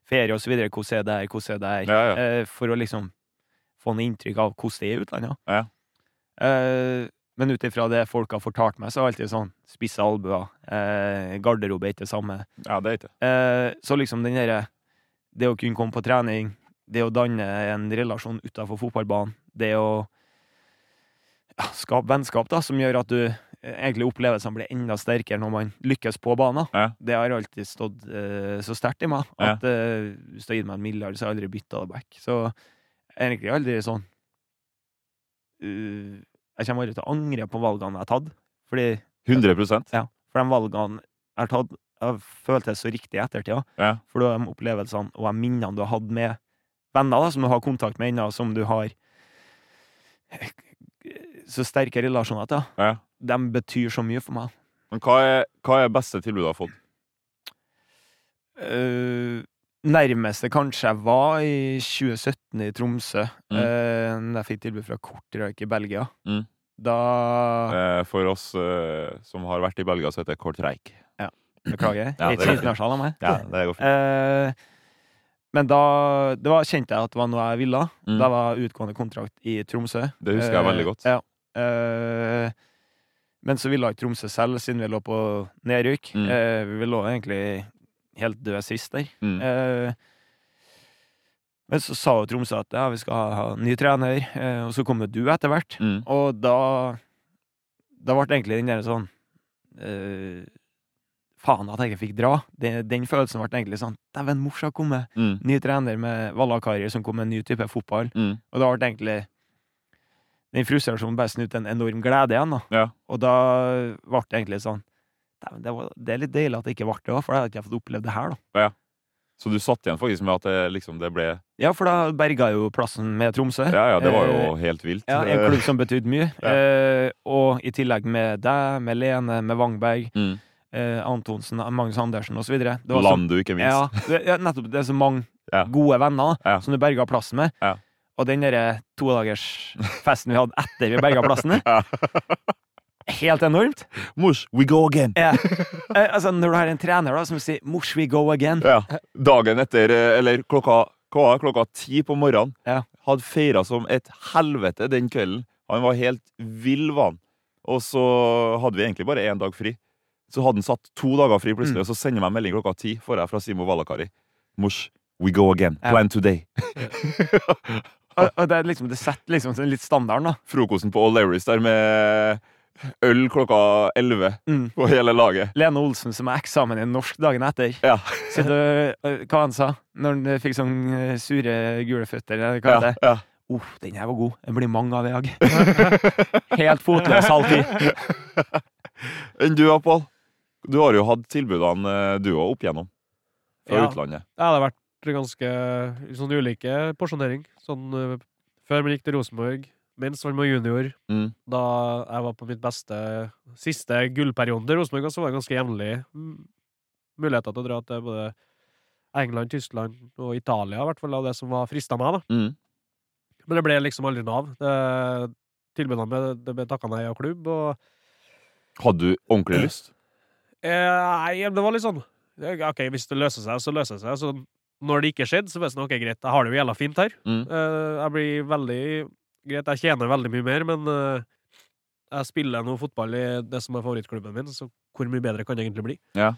ferie og så videre, hvordan er det her, hvordan er det her?
Ja, ja.
eh, for å liksom få noe inntrykk av hvordan det er i utlandet.
Ja.
Eh, men ut ifra det folk har fortalt meg, så er det alltid sånn spisse albuer. Eh, garderobe er ikke det samme.
ja det er ikke det.
Eh, så liksom den derre Det å kunne komme på trening, det å danne en relasjon utafor fotballbanen, det å ja, skape vennskap da, som gjør at du eh, egentlig opplevelsene blir enda sterkere når man lykkes på banen.
Ja.
Det har alltid stått eh, så sterkt i meg
Ja.
at eh, hvis du har gitt meg en milliard, så har jeg aldri bytta det back. Så egentlig aldri sånn eh, Jeg kommer aldri til å angre på valgene jeg har tatt, fordi
100
for de valgene jeg har tatt, jeg føltes så riktig i ettertida.
Ja.
For det er de opplevelsene og de minnene du har hatt med venner da, som du har kontakt med ennå, som du har eh, så sterke relasjoner til,
Ja.
de betyr så mye for meg.
Men hva er, hva er beste tilbudet du har fått?
Eh, nærmeste kanskje jeg var i 2017 i Tromsø,
Mm.
eh, da jeg fikk tilbud fra Kortrøyk i Belgia.
Mm.
Da
Eh, for oss eh, som har vært i Belgia, så heter det kort reik.
Beklager,
Ja, det
ikke
går fint.
internasjonal av meg.
Ja, det går fint.
Eh, men da det var, kjente jeg at det var noe jeg ville.
Mm.
Da var utgående kontrakt i Tromsø.
Det husker jeg veldig godt.
Eh, ja. Eh, men så ville ikke Tromsø selv, siden vi lå på nedrykk.
Mm.
Eh, vi lå egentlig helt døde sist der.
Mm.
Eh, men så sa jo Tromsø at ja, vi skal ha ny trener, eh, og så kom jo du etter hvert.
Mm.
Og da Da ble det egentlig den der sånn eh, Faen at jeg ikke fikk dra. Den, den følelsen ble egentlig sånn Dæven, mors har kommet.
Mm.
Ny trener med Vallakari som kom med en ny type fotball.
Mm.
Og da ble det egentlig den frustrasjonen bare snudd til en enorm glede igjen. da.
Ja.
Og da ble det egentlig sånn Dæven, det, var- det er litt deilig at det ikke ble det òg, for da hadde jeg ikke fått opplevd det her, da.
Så du satt igjen faktisk med at det, liksom, det ble
Ja, for da berga jo plassen med Tromsø.
Ja, ja, det var jo helt vilt.
Ja, en klubb som betydde mye.
Ja.
Eh, og i tillegg med deg, med Lene, med Wangberg,
Mm.
eh, Antonsen, Magnus Andersen osv.
Landu, ikke minst.
Ja, det, ja, nettopp. Det er så mange
Ja.
gode venner da,
Ja.
som du berga plassen med.
Ja.
Og den derre todagersfesten vi hadde etter vi berga plassen,
Ja.
helt enormt.
Mors, we go again!
Ja. Eh, altså, når du har en trener da, som sier 'Mors, we go again',
Ja. Dagen etter, eh, eller klokka, hva var det? klokka ti på morgenen,
Ja.
hadde feira som et helvete den kvelden. Han var helt vill, var han. Og så hadde vi egentlig bare én dag fri. Så hadde han satt to dager fri
Mm.
plutselig, og så sender jeg meg melding klokka ti får jeg fra Simo Valakari. Mors, we go again.
Ja.
Plan today.
og, og det, er liksom, det setter liksom sånn litt standarden, da.
Frokosten på O'Learys der med øl klokka elleve
Mm.
på hele laget.
Lene Olsen som har eksamen i norsk dagen etter.
Ja.
Så du, øh, hva han sa når han øh, fikk sånn øh, sure gule føtter? eller Hva
Ja,
det?
ja.
Uff, den her var god. Det blir mange av i dag. Helt fotløs halv ti.
Enn du, Pål? Du har jo hatt tilbudene eh, du òg opp igjennom fra
Ja.
utlandet.
Ja, det har vært ganske sånn ulike porsjonering. Sånn eh, før man gikk til Rosenborg, mens man var junior,
Mm.
da jeg var på mitt beste siste gullperiode i Rosenborg, så var det ganske jevnlig mm, muligheter til å dra til både England, Tyskland og Italia, i hvert fall av det som var frista meg, da.
Mm.
Men det ble liksom aldri noe av. Det- Tilbudene ble, det ble takka nei av klubb, og
Hadde du ordentlig lyst?
Eh, Nei, men det var litt sånn det- Ok, hvis det løser seg, så løser det seg. Så når det ikke skjedde, så var det sånn, ok, greit, jeg har det jo jævla fint her.
Mm.
Eh, jeg blir veldig Greit, jeg tjener veldig mye mer, men eh, jeg spiller nå fotball i det som er favorittklubben min, så hvor mye bedre kan det egentlig bli?
Ja.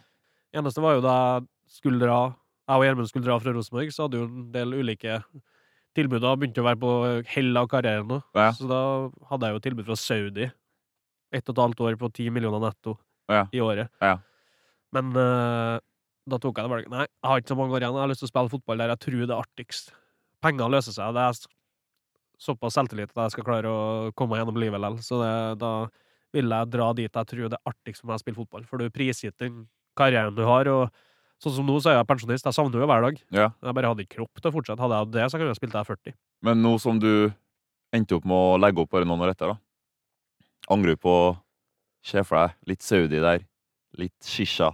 Eneste var jo da jeg skulle dra jeg og Gjermund skulle dra fra Rosenborg, så hadde jo en del ulike tilbud. Da begynte å være på hell av karrieren nå.
Ja.
Så da hadde jeg jo tilbud fra Saudi. Ett og et halvt år på ti millioner netto
Ja.
i året.
Ja.
Men eh, da tok jeg det valget. Nei, jeg har ikke så mange år igjen. Jeg har lyst til å spille fotball der jeg tror det er artigst. Penger løser seg. Det er s- såpass selvtillit at jeg skal klare å komme meg gjennom livet likevel. Så det, da vil jeg dra dit jeg tror det er artigst for meg å spille fotball. For du er prisgitt den karrieren du har. Og sånn som nå, så er jeg pensjonist. Jeg savner jo hver dag.
Ja.
Jeg bare hadde ikke kropp til å fortsette. Hadde jeg hatt det, så kunne jeg spilt til jeg er 40.
Men nå som du endte opp med å legge opp bare noen år etter, da Angrer du på å se for deg litt Saudi der, litt shisha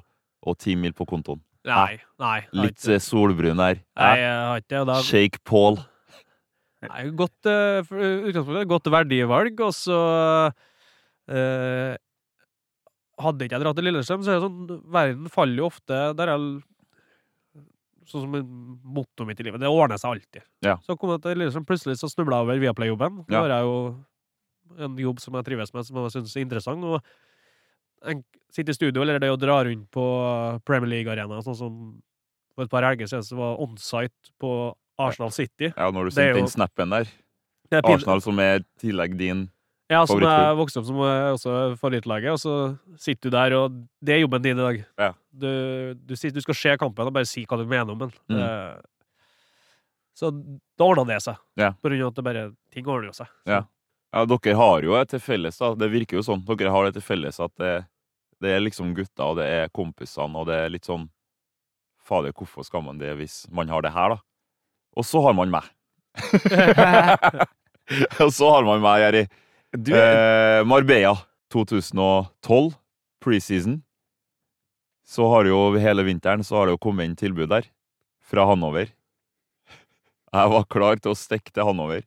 og ti mil på kontoen?
Nei. nei jeg har
Litt
ikke-
eh, solbrun der?
Nei,
eh?
jeg har ikke det. og da-
Shake Paul?
Nei, godt eh, for- utgangspunktet, godt verdivalg, og så eh, Hadde ikke jeg dratt til Lillestrøm, så er det sånn Verden faller jo ofte der er l- Sånn som en motto mitt i livet. Det ordner seg alltid.
Ja.
Så kom jeg til Lillestrøm, plutselig så snubla jeg over Viaplay-jobben. Nå
Ja.
har jeg jo en jobb som jeg trives med, som jeg syns er interessant. og en, sitte i studio, eller det å dra rundt på Premier League-arena, sånn som for et par helger siden, så var onsite på Arsenal City.
Ja, når du
Det er
sendte
jo-
inn snappen der.
Det er pin-
Arsenal som er i tillegg din
Ja, som jeg
Favorittklubb.
vokste opp som eh, også favorittlaget, og så sitter du der, og det er jobben din i dag.
Ja.
Du, du, sitter, du skal se kampen og bare si hva du mener om den.
Mm.
Eh, Så da ordna det seg,
Ja.
på grunn av at det bare, ting ordner jo seg.
Ja. Ja, dere har jo et til felles, da. Det virker jo sånn. Dere har det til felles at det, det er liksom gutta, og det er kompisene, og det er litt sånn Fader, hvorfor skal man det hvis man har det her, da? Og så har man meg. og så har man meg, Jerry.
Du,
Eh, Marbella 2012, preseason. Så har jo hele vinteren så har det jo kommet inn tilbud der, fra Hanover. Jeg var klar til å stikke til Hanover.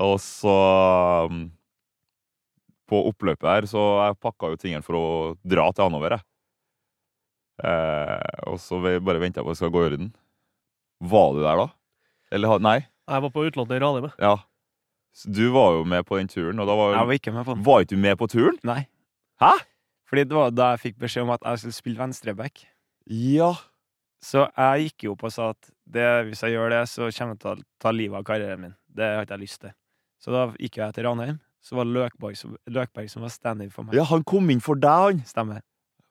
Og så mm, På oppløpet her, så jeg pakka jo tingene for å dra til Hanover, jeg. Eh, og så ve- bare venta jeg på at det skal gå i orden. Var du der da? Eller ha- Nei?
Jeg var på utlånet i Ranheim. jeg.
Ja. Så du var jo med på den turen, og da var,
jeg var ikke med på den.
var ikke du med på turen?
Nei.
Hæ?
Fordi det var da jeg fikk beskjed om at jeg skulle spille venstreback.
Ja.
Så jeg gikk jo opp og sa at det, hvis jeg gjør det, så kommer jeg til å ta livet av karrieren min. Det har ikke jeg lyst til. Så da gikk jeg til Ranheim. Så var det Løkberg som, Løkberg som var stand-in for meg.
ja, han kom inn for deg, han.
Stemmer.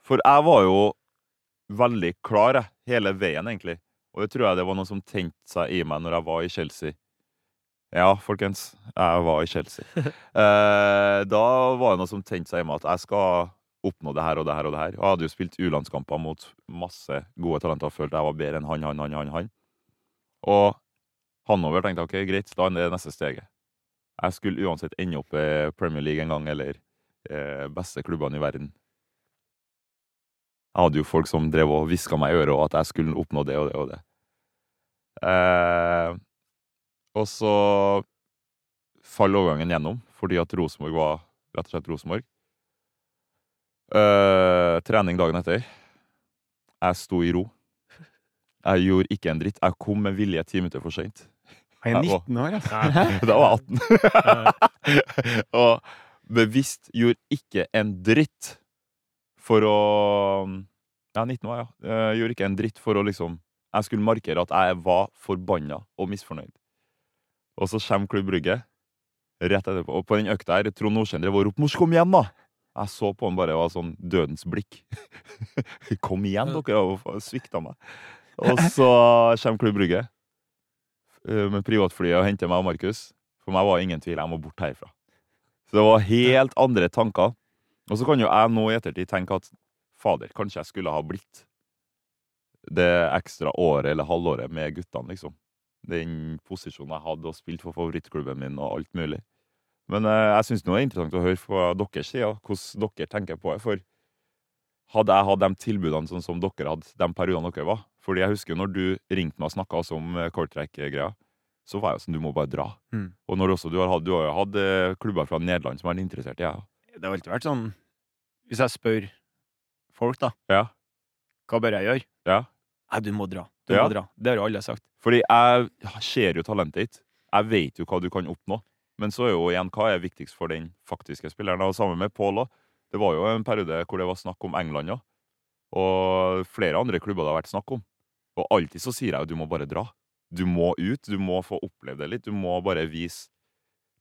For jeg var jo veldig klar, jeg, hele veien, egentlig. Og det tror jeg det var noe som tente seg i meg når jeg var i Chelsea. Ja, folkens, jeg var i Chelsea. eh, da var det noe som tente seg i meg at jeg skal oppnå det her og det her og det her. Og jeg hadde jo spilt U-landskamper mot masse gode talenter og følte jeg var bedre enn han, han, han, han, han. Og Hanover tenkte ok, greit, da er det neste steget. Jeg skulle uansett ende opp i Premier League en gang, eller eh, beste klubbene i verden. Jeg hadde jo folk som drev og hviska meg i øret og at jeg skulle oppnå det og det og det. Eh, og så falt overgangen gjennom, fordi at Rosenborg var rett og slett Rosenborg. Eh, trening dagen etter. Jeg sto i ro. Jeg gjorde ikke en dritt. Jeg kom med vilje ti minutter for seint.
Han er
Jeg var-
19 år, altså.
Da var jeg 18. og bevisst gjorde ikke en dritt for å Ja, 19 var jeg, ja. Eh, Gjorde ikke en dritt for å liksom Jeg skulle markere at jeg var forbanna og misfornøyd. Og så kommer Klubb Brygge rett etterpå. Og på den økta her, Trond Nordkjend drev og ropte 'Mors, kom hjem', da! Jeg så på han bare var sånn dødens blikk. kom igjen, dere har jo faen svikta meg. Og så kommer Klubb Brygge eh, med privatflyet og henter meg og Markus. For meg var det ingen tvil, jeg må bort herfra. Så det var helt andre tanker. Og så kan jo jeg nå i ettertid tenke at Fader, kanskje jeg skulle ha blitt det ekstra året eller halvåret med guttene, liksom. Den posisjonen jeg hadde og spilt for favorittklubben min og alt mulig. Men eh, jeg syns det er interessant å høre fra deres side hvordan dere tenker på det. For hadde jeg hatt de tilbudene sånn som dere hadde de periodene dere var Fordi jeg husker jo når du ringte meg og snakka om Coltrack-greia, så var jeg jo sånn Du må bare dra.
Mm.
Og når også du har hatt Du har jo hatt eh, klubber fra Nederland som har vært interessert i deg.
Det har alltid vært sånn Hvis jeg spør folk, da,
Ja.
hva bør jeg gjøre?
Ja.
Nei, du må dra. Du
Ja.
må dra. Det har jo alle sagt.
Fordi jeg ser jo talentet ditt. Jeg vet jo hva du kan oppnå. Men så er jo igjen hva er viktigst for den faktiske spilleren. Og sammen med Pål òg. Det var jo en periode hvor det var snakk om England òg. Og flere andre klubber det har vært snakk om. Og alltid så sier jeg jo du må bare dra. Du må ut. Du må få oppleve det litt. Du må bare vise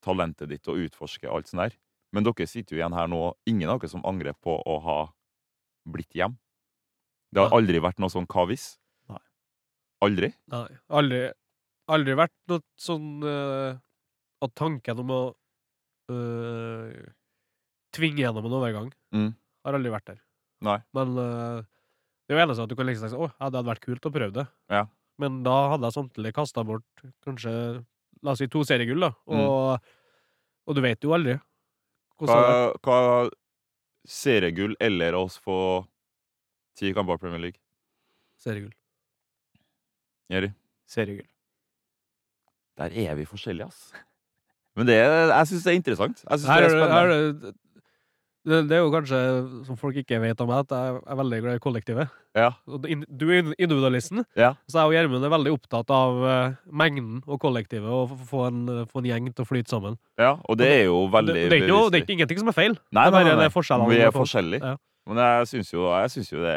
talentet ditt og utforske alt sånt der. Men dere sitter jo igjen her nå. Ingen av dere som angrer på å ha blitt hjem. Det har aldri vært noe sånn hva hvis.
Nei.
Aldri.
Nei. Aldri, aldri vært noe sånn eh, At tanken om å eh, tvinge gjennom en overgang
Mm.
har aldri vært der.
Nei.
Men eh, det er jo eneste at du kan liksom si Å, ja, det hadde vært kult å prøve det.
Ja.
Men da hadde jeg samtidig kasta bort kanskje La oss si to seriegull, da. Og, og du vet jo aldri. Hvordan det
Mm. Hva, hva seriegull eller oss få ti kamper i Premier League?
er seriegull.
Jerry?
Seriegull.
Der er vi forskjellige, ass. Men det er, jeg syns det er interessant. Jeg synes
Her
det er
er det,
spennende.
her er det, det, det er jo kanskje, som folk ikke vet om meg, at jeg er veldig glad i kollektivet.
Ja.
Og det- Du er individualisten,
Ja.
så jeg og Gjermund er veldig opptatt av eh, mengden og kollektivet, og f- få en, eh, få en gjeng til å flyte sammen.
ja, og det er jo veldig
det, det, er ikke noe, det er
beviselig.
ikke ingenting som er feil.
Nei,
det er
nei,
bare
nei,
det er
nei.
forskjellene
Vi
mellom
er
folk.
forskjellige.
Ja.
Men jeg syns jo, jeg synes jo det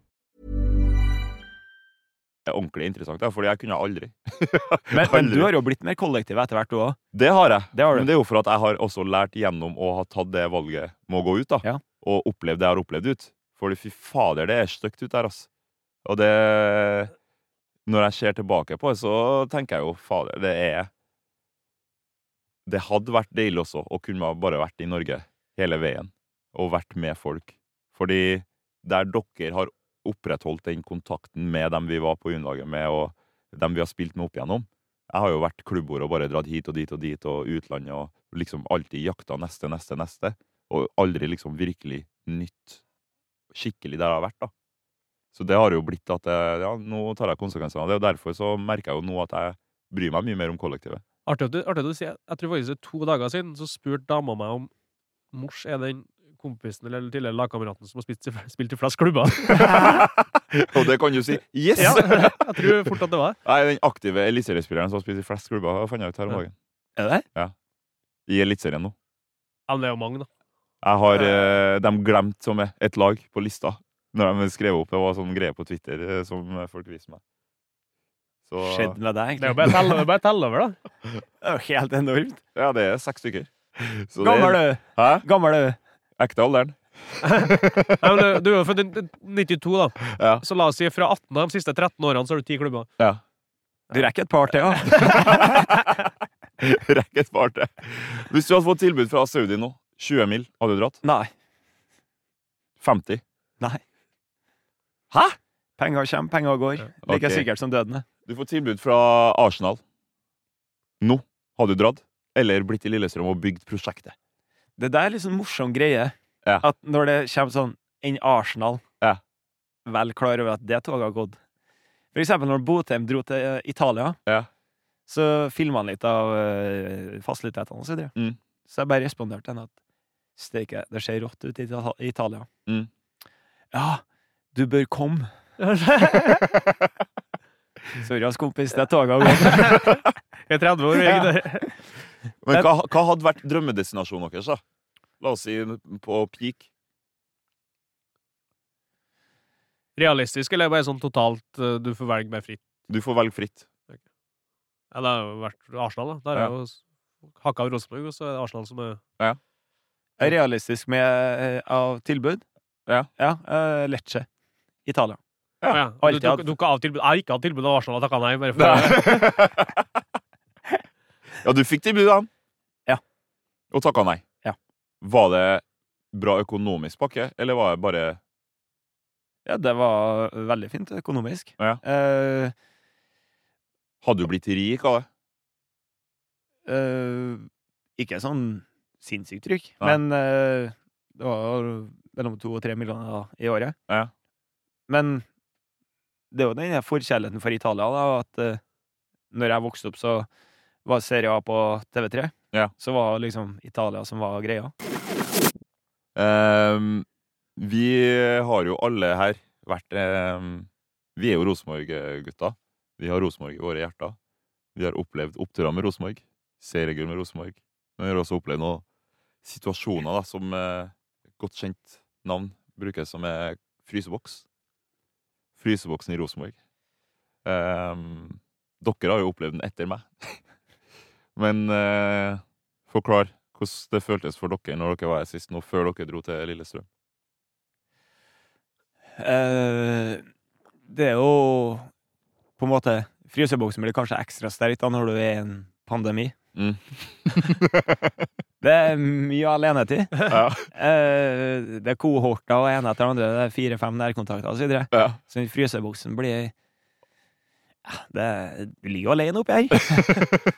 er ordentlig interessant. Da, fordi jeg kunne aldri.
Men, men
Aldri.
du har jo blitt mer kollektiv etter hvert, du òg.
Det har jeg.
Det har du.
Men det er jo for at jeg har også lært gjennom å ha tatt det valget med å gå ut, da.
Ja.
Og oppleve det jeg har opplevd ut. For fy fader, det er stygt ut der, ass. Og det Når jeg ser tilbake på det, så tenker jeg jo fader, det er Det hadde vært deilig også å kunne ha bare vært i Norge hele veien og vært med folk. Fordi der dere har opprettholdt den kontakten med dem vi var på U-laget med, og dem vi har spilt med opp igjennom Jeg har jo vært klubbord og bare dratt hit og dit og dit og utlandet og liksom alltid jakta neste, neste, neste, og aldri liksom virkelig nytt skikkelig der jeg har vært, da. Så det har jo blitt at jeg, ja, nå tar jeg konsekvensene av det, og derfor så merker jeg jo nå at jeg bryr meg mye mer om kollektivet.
Artig at du, artig at du sier Jeg tror faktisk det er to dager siden så spurte dama meg om mors er den kompisen eller tidligere lagkameraten som har spilt, spilt i flest klubber.
og det kan du si. Yes!
ja, jeg tror fort at det var det.
Nei, den aktive eliteseriespilleren som har spilt i flest klubber, fant jeg ut her om
Ja.
dagen.
Er det det?
I eliteserien nå.
Ja, men det er jo mange, da.
Jeg har eh, dem glemt som er et lag på lista. Når de skrev opp, Det var sånn greie på Twitter eh, som folk viste meg. Så
Skjedd med deg,
Det er
egentlig.
jo bare å telle- det er bare å telle over, da.
Det er jo helt enormt.
Ja, det er seks stykker. Så det-
Gammel er du.
Hæ?
Gammel er du.
Ekte alderen.
Nei, men du- du er jo født i 92, da.
Ja.
Så la oss si fra 18 av de siste 13 årene så har du ti klubber.
Ja.
Du rekker et par til, ja.
Rekk et par til. Hvis du hadde fått tilbud fra Saudi nå, 20 mil, hadde du dratt?
Nei.
50?
Nei. Hæ? Penger kommer, penger går. Like
Ok.
sikkert som døden. er.
Du får tilbud fra Arsenal. Nå har du dratt. Eller blitt i Lillestrøm og bygd prosjektet.
Det der er liksom sånn morsom greie.
Ja.
At når det kommer sånn inn Arsenal,
Ja.
vel klar over at det toget har gått. For eksempel når Botheim dro til eh, Italia,
Ja.
så filma han litt av eh, fasilitetene og så videre.
Mm.
Så jeg bare responderte til henne at steike, det ser rått ut i Ita- Italia.
Mm.
Ja, du bør komme. Sorry, ass, kompis, det toget har gått.
Jeg er 30 år. og Jeg gidder.
Men hva, hva hadde vært drømmedestinasjonen deres, da? La oss si på peak.
Realistisk, eller bare sånn totalt eh, du får velge mer fritt?
Du får velge fritt.
Ja, det har jo vært Arsenal, da. Der er
Ja.
jo s- hakka av Rosenborg, og så er det Arsenal som er
Realistisk med eh, av tilbud.
Ja.
ja eh, Lecce. Italia.
ja.
alltid
Du tok,
hatt-
tok av tilbud. Jeg har ikke hatt tilbud av Arsenal og takka nei. Bare for,
Ja, du fikk tilbudet, han.
Ja.
Og takka nei.
Ja.
Var det bra økonomisk pakke, eller var det bare
Ja, det var eh, veldig fint økonomisk.
Ja.
Eh,
Hadde du blitt rik av det?
eh, ikke sånn sinnssykt trykk,
Nei.
men eh, det var jo mellom to og tre millioner i året.
Ja.
Men det er jo den her forkjærligheten for Italia, da, at eh, når jeg vokste opp, så var Serie A på TV3.
Ja.
Så var liksom Italia som var greia.
Ehm, vi har jo alle her vært ehm, Vi er jo Rosenborg-gutta. Vi har Rosenborg i våre hjerter. Vi har opplevd oppturer med Rosenborg, seriegull med Rosenborg. Men vi har også opplevd noen situasjoner da, som eh, godt kjent navn brukes som er fryseboks. Fryseboksen i Rosenborg. Ehm, dere har jo opplevd den etter meg. Men eh, forklar hvordan det føltes for dere når dere var her sist nå, før dere dro til Lillestrøm.
Eh, det er jo på en måte Fryseboksen blir kanskje ekstra sterk da når du er i en pandemi.
Mm.
det er mye alenetid.
Ja.
Eh, det er kohorter og ene etter andre. Det er fire-fem nærkontakter og så videre.
Ja.
Så den fryseboksen blir ja, det, Du ligger jo alene oppi her.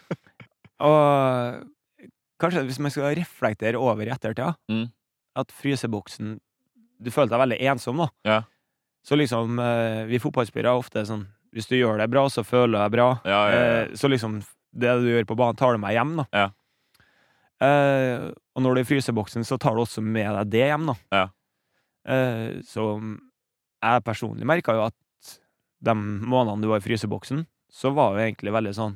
og kanskje hvis man skal reflektere over i ettertida,
Mm.
at fryseboksen Du føler deg veldig ensom, da.
Ja.
Så liksom eh, Vi fotballspillere er ofte sånn Hvis du gjør det bra, så føler jeg bra.
Ja, ja, ja.
Eh, så liksom Det du gjør på banen, tar du med hjem, da.
Ja.
Eh, og når du er i fryseboksen, så tar du også med deg det hjem, da.
Ja.
Eh, så jeg personlig merka jo at de månedene du var i fryseboksen, så var jo egentlig veldig sånn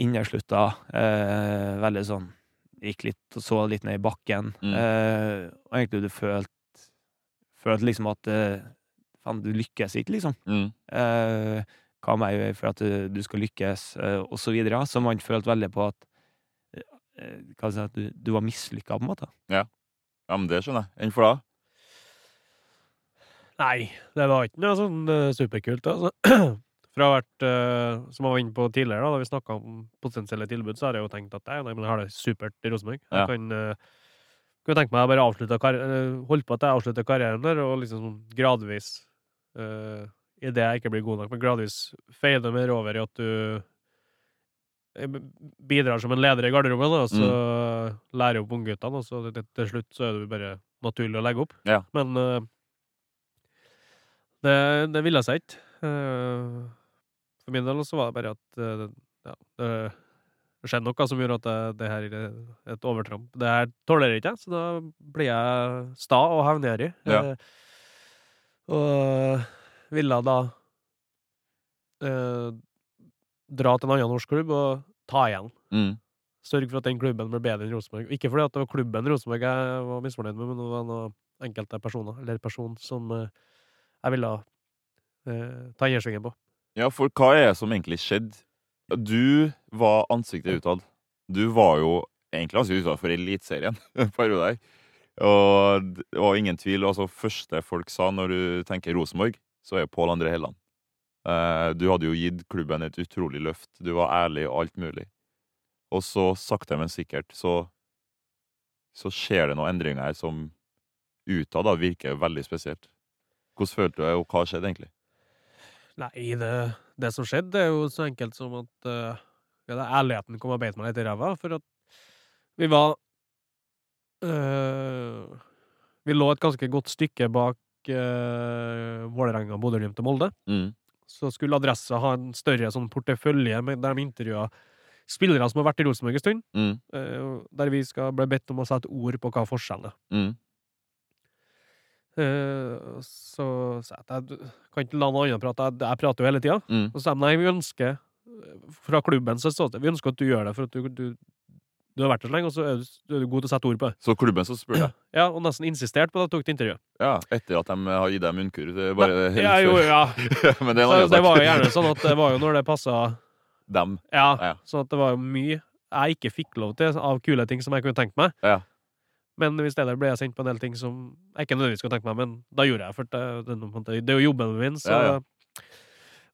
Inneslutta. Eh, veldig sånn Gikk litt og så litt ned i bakken.
Mm.
Eh, og egentlig du følte Følte liksom at eh, Faen, du lykkes ikke, liksom.
Mm.
Eh, hva må jeg gjøre for at eh, du skal lykkes, eh, og så videre. Så man følte veldig på at eh, Hva skal jeg si, at du, du var mislykka, på en måte.
ja, men det skjønner jeg. Enn for da?
nei, det var ikke noe sånn eh, superkult. Altså. Fra å ha vært, eh, som jeg var inne på tidligere, da, da vi snakka om potensielle tilbud, så har jeg jo tenkt at nei, nei, men jeg har det supert i Rosenborg.
Ja.
Jeg kan, eh, kan tenke meg å bare avslutte kar eh, holde på at jeg avslutter karrieren der, og liksom sånn gradvis eh, i det jeg ikke blir god nok, men gradvis fade mer over i at du eh, b- bidrar som en leder i garderoben, da, og så
Mm.
lærer opp ungguttene, og så til, til slutt så er det jo bare naturlig å legge opp.
Ja.
Men eh, det, det ville seg ikke. Eh, for min del så var det bare at eh, det- ja, det skjedde noe som gjorde at det, det her er et overtramp. Det her tåler jeg ikke, så da blir jeg sta og hevngjerrig.
Ja.
Eh, og ville da eh, dra til en annen norsk klubb og ta igjen.
Mm.
Sørge for at den klubben ble bedre enn Rosenborg. Ikke fordi at det var klubben Rosenborg jeg var misfornøyd med, men det var noen enkelte personer, eller person, som eh, jeg ville eh, ta gjersvingen på.
Ja, for hva er det som egentlig skjedde? Du var ansiktet utad. Du var jo egentlig ansiktet utad for Eliteserien en periode her. Og det var ingen tvil. Altså, første folk sa når du tenker Rosenborg, så er Pål André Helland. Eh, Du hadde jo gitt klubben et utrolig løft. Du var ærlig og alt mulig. Og så sakte, men sikkert, så så skjer det noen endringer her som utad da virker veldig spesielt. Hvordan følte du deg, og hva skjedde egentlig?
Nei, det, det som skjedde, det er jo så enkelt som at eh, ja, det er ærligheten kom og beit meg litt i ræva. For at vi var Eh, vi lå et ganske godt stykke bak uh, Vålerenga, Bodø-Glimt og Molde.
Mm.
Så skulle Adressa ha en større sånn portefølje med- der de intervjua spillere som har vært i Rosenborg en stund,
Mm.
eh, og der vi skal bli bedt om å sette ord på hva forskjellen er.
Mm.
Eh, så sa jeg at jeg kan ikke la noen andre prate, jeg, jeg prater jo hele tida.
Mm.
Og så sa de nei, vi ønsker eh, fra klubben så ståsted, vi ønsker at du gjør det, for at du, du, du har vært der så lenge, og så er du, du er god til å sette ord på det.
Så klubben som spør deg?
Ja, og nesten insistert på det, tok et intervju.
Ja, etter at de har gitt deg munnkurv? det er Bare helt
Ja, jo,
før.
ja.
Men det er en
Så
annen
det
sak.
var jo gjerne sånn at det var jo når det passa
Dem.
Ja,
Ja.
så at det var jo mye jeg ikke fikk lov til av kule ting som jeg kunne tenkt meg.
Ja.
Men i stedet ble jeg sendt på en del ting som jeg ikke nødvendigvis kunne tenkt meg, men da gjorde jeg for det. Det, er noe på en måte- det er jo jobben min, så
Ja, ja.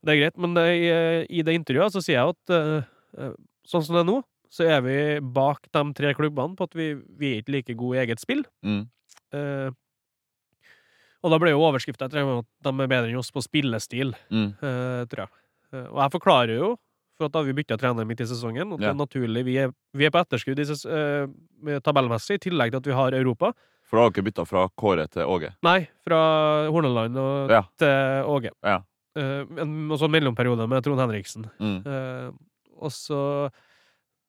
det er greit. Men eh, i, i det intervjuet så sier jeg at eh, eh, sånn som det er nå, så er vi bak de tre klubbene på at vi, vi er ikke like gode i eget spill.
Mm.
Eh, og da ble jo overskrifta at de er bedre enn oss på spillestil
Mm.
eh, tror jeg. Eh, og jeg forklarer jo, for at da har vi bytta trener midt i sesongen, at det
Ja.
er naturlig vi er, vi er på etterskudd i ses, eh, med tabellmessig, i tillegg til at vi har Europa.
For da har dere bytta fra Kåre til Åge.
Nei, fra Horneland og
Ja.
til Åge.
Ja.
Eh, en, og så en mellomperiode med Trond Henriksen.
Mm.
Eh, og så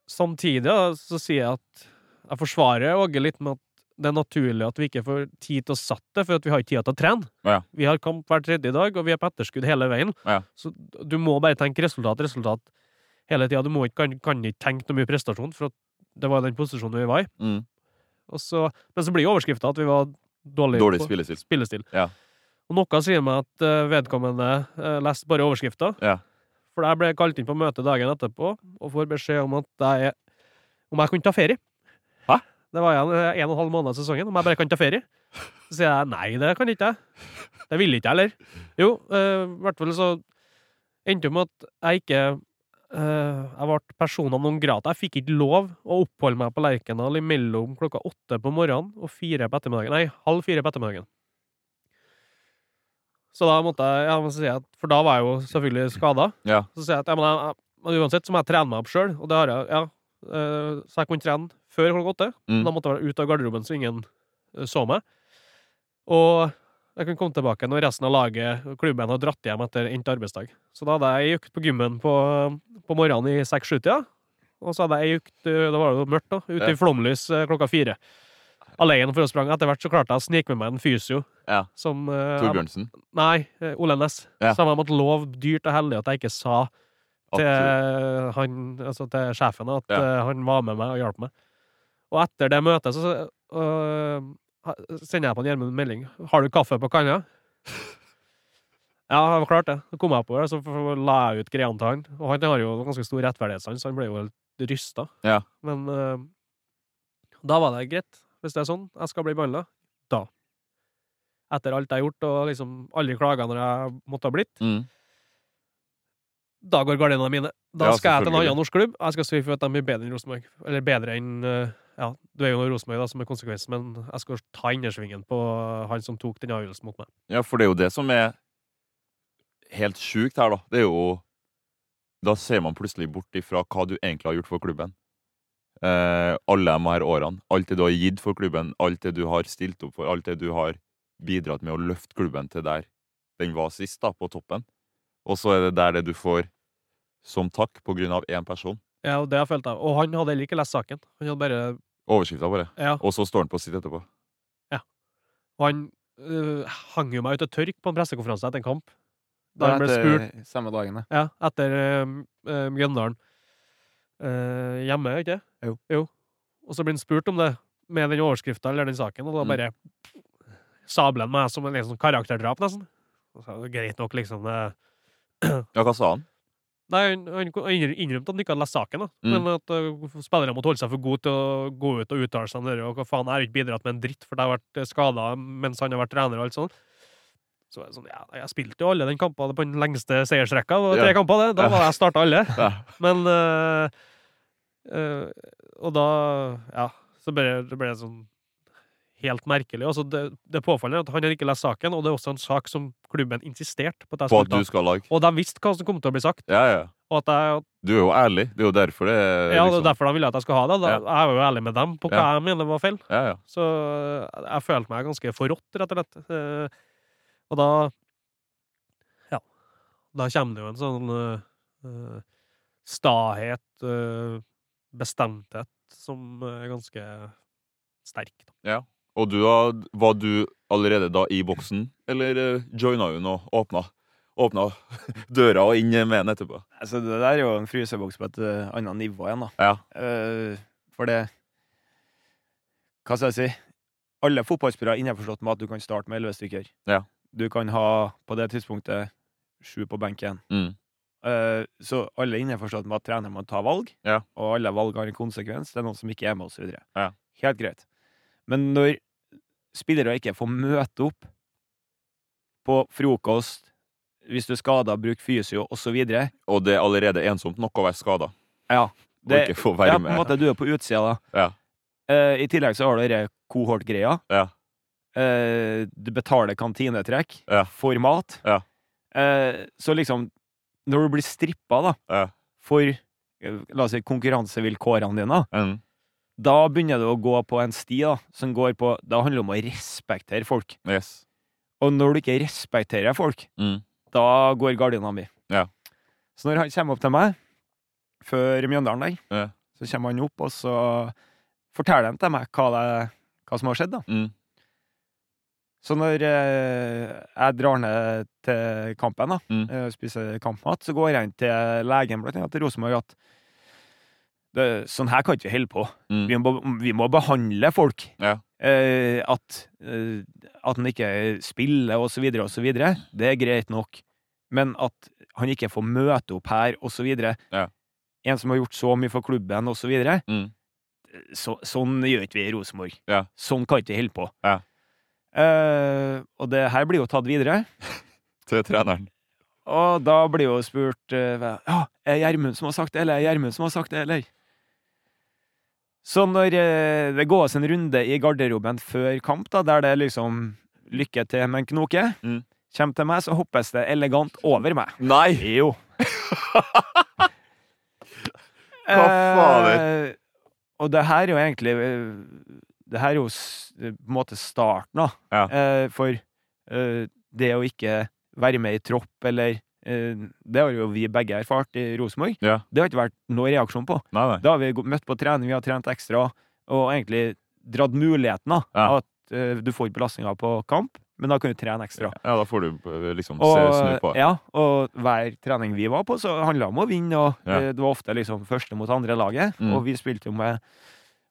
Samtidig da, så sier jeg at jeg forsvarer Åge litt med at det er naturlig at vi ikke får tid til å satt det, for at vi har ikke tid til å trene.
Ja.
Vi har kamp hver tredje dag, og vi er på etterskudd hele veien.
Ja.
Så du må bare tenke resultat, resultat hele tida. Du må ikke, kan, kan ikke tenke noe mye prestasjon, for at det var den posisjonen vi var i.
Mm.
Og så, men så blir jo overskrifta at vi var dårlige
Dårlig
på-
spillestil.
spillestil.
Ja.
Og noe sier meg at eh, vedkommende eh, leste bare overskrifta.
Ja.
For jeg ble kalt inn på møte dagen etterpå og får beskjed om at jeg, om jeg kunne ta ferie.
Hæ?
Det var igjen eh, en og en halv måned av sesongen, om jeg bare kan ta ferie. Så sier jeg nei, det kan ikke jeg. Det vil ikke jeg heller. Jo, eh, i hvert fall så endte det med at jeg ikke eh, Jeg ble persona non grata. Jeg fikk ikke lov å oppholde meg på Lerkendal mellom klokka åtte på morgenen og fire på ettermiddagen. Nei, halv fire på ettermiddagen. Så da måtte jeg, ja, men så sier jeg at, for da var jeg jo selvfølgelig skada.
Ja.
Så sier jeg at ja, men jeg, jeg, uansett så må jeg trene meg opp sjøl, og det har jeg, ja. eh, så jeg kunne trene før klokka åtte.
Mm.
Da måtte jeg være ute av garderoben så ingen eh, så meg. Og jeg kunne komme tilbake når resten av laget og klubben hadde dratt hjem etter endt arbeidsdag. Så da hadde jeg ei økt på gymmen på, på morgenen i seks-sju-tida. Og så hadde jeg ei økt, eh, da var det jo mørkt, da, ute
Ja.
i flomlys eh, klokka fire. Alene for å sprang. Etter hvert så klarte jeg å snike med meg en fysio
Ja.
som eh, jeg-
Torbjørnsen.
Nei, eh, Ole Næss.
Ja.
Så jeg måtte love dyrt og hellig at jeg ikke sa
At-
til, han, altså til sjefen at
Ja.
eh, han var med meg og hjalp meg. Og etter det møtet så så, øh, ha- sender jeg på en Gjermund en melding. 'Har du kaffe på kanna?' ja, det var klart det. Så kom jeg oppover, så f- f- la jeg ut greiene til han. Og han har jo ganske stor rettferdighetssans, så han ble jo helt rysta.
Ja.
Men øh, da var det greit. Hvis det er sånn, jeg skal bli behandla. Da. Etter alt jeg har gjort, og liksom alle klagene jeg måtte ha blitt
Mm.
da går gardinene mine. Da
Ja,
skal jeg til en
selvfølgelig.
annen norsk klubb. Jeg skal sørge for at de blir bedre enn Rosenborg. Eller bedre enn eh, Ja, du er jo Rosenborg, da, som er konsekvensen, men jeg skal ta innersvingen på han som tok den avgjørelsen mot meg.
Ja, for det er jo det som er helt sjukt her, da. Det er jo Da ser man plutselig bort ifra hva du egentlig har gjort for klubben. Eh, alle de her årene. Alt det du har gitt for klubben, alt det du har stilt opp for, alt det du har bidratt med å løfte klubben til der den var sist, da, på toppen. Og så er det der det du får som takk på grunn av én person.
Ja, og det har jeg følt av. Og han hadde heller ikke lest saken. Han hadde bare
Overskrifta, bare.
Ja.
Og så står han på sitt etterpå.
Og han eh, hang jo meg ut til tørk på en pressekonferanse etter en kamp. Da han ble spurt
Samme dagen, ja.
Ja, etter eh, eh, Mjøndalen. Eh, hjemme, ikke det?
Jo.
Og så blir han spurt om det med den overskrifta eller den saken, og da
Mm.
bare sabler han meg som en liksom, karakterdrap, nesten. Og så, er det greit nok, liksom. Det.
Ja, hva sa han?
Nei, han, han ko- innr- innrømte at han ikke hadde lest saken, da.
Mm.
men at eh, spillerne måtte holde seg for gode til å gå ut og uttale seg om det. Og hva faen, jeg har ikke bidratt med en dritt, for jeg har vært skada mens han har vært trener og alt sånt. Så er det sånn, ja, jeg spilte jo alle den kampen på den lengste seiersrekka. Det var tre
Ja.
kamper, det. Da
Ja.
var jeg starta alle.
Ja.
Men eh, eh, Og da Ja, så ble det ble det sånn helt merkelig. Altså, det, det påfallende er at han har ikke lest saken, og det er også en sak som klubben insisterte på at jeg
På at du
skulle ta.
skal lage?
Og de visste hva som kom til å bli sagt.
Ja, ja.
Og at jeg,
Du er jo ærlig. Det er jo derfor det er
ja, det er
liksom-
derfor de ville at jeg skulle ha det. Da,
Ja.
Jeg var jo ærlig med dem på hva
Ja.
jeg mener var feil.
Ja, ja.
Så eh, jeg følte meg ganske forrådt, rett og slett. Eh, Og da Ja. Da kommer det jo en sånn eh, eh, stahet, eh, bestemthet, som er ganske sterk. Da.
Og du, da, var du allerede da i boksen, eller eh, joina hun og åpna, åpna døra og inn med den etterpå?
Altså, det der er jo en fryseboks på et eh, annet nivå igjen, da.
Ja.
Eh, for det Hva skal jeg si? Alle fotballspillere er innforstått med at du kan starte med elleve stykker.
Ja.
Du kan ha, på det tidspunktet, sju på benken.
Mm.
Eh, så alle er innforstått med at treneren må ta valg,
Ja.
og alle valg har en konsekvens. Det er noen som ikke er med, osv.
Ja.
Helt greit. Men når spillere ikke får møte opp på frokost, hvis du er skada, bruk fysio, osv.
Og det er allerede ensomt nok å være skada.
Ja,
Og
det-
ikke få være
ja, på
med.
en måte, du er på utsida da.
Ja.
Eh, I tillegg så har du denne kohort-greia.
Ja.
Eh, du betaler kantinetrekk
Ja.
for mat.
Ja.
Eh, så liksom, når du blir strippa da,
Ja.
for eh, la oss si, konkurransevilkårene dine,
Mm.
da begynner du å gå på en sti da, som går på Da handler det om å respektere folk.
Yes.
Og når du ikke respekterer folk,
Mm.
da går gardina mi.
Ja.
Så når han kommer opp til meg, før Mjøndalen der,
Ja.
så kommer han opp, og så forteller han til meg hva, det, hva som har skjedd. da.
Mm.
Så når eh, jeg drar ned til kampen, da,
Mm.
eh, spiser kampmat, så går jeg inn til legen blant annet til Rosenborg at det, sånn her kan ikke vi holde på.
Mm.
Vi må, vi må behandle folk.
Ja.
Eh, at, eh, at han ikke spiller og så videre og så videre, det er greit nok. Men at han ikke får møte opp her og så videre.
Ja.
En som har gjort så mye for klubben og så videre.
Mm.
Så, sånn gjør ikke vi i Rosenborg.
Ja.
Sånn kan ikke vi holde på.
Ja.
Eh, og det her blir jo tatt videre.
Til treneren.
Og da blir jo spurt eh, hva- Ja, er det Gjermund som har sagt det, eller er det Gjermund som har sagt det, eller? Så når eh, det gås en runde i garderoben før kamp, da, der det liksom lykke til med en knoke,
Mm.
kommer til meg, så hoppes det elegant over meg.
Nei!
Jo.
Hva fader?
Eh, og det her er jo egentlig eh, Det her er jo s- på en måte starten, da.
Ja.
Eh, for eh, det å ikke være med i tropp, eller eh, Det har jo vi begge erfart i Rosenborg.
Ja.
Det har ikke vært noe reaksjon på.
Nei, nei.
Da har vi gå- møtt på trening, vi har trent ekstra, og egentlig dratt muligheten, da.
Ja.
At eh, du får ikke belastninga på kamp, men da kan du trene ekstra.
Ja, da får du eh, liksom se, snu på
Og,
det.
ja, og hver trening vi var på, så handla det om å vinne. Og
Ja.
eh, Det var ofte liksom første mot andre laget.
Mm.
Og vi spilte jo med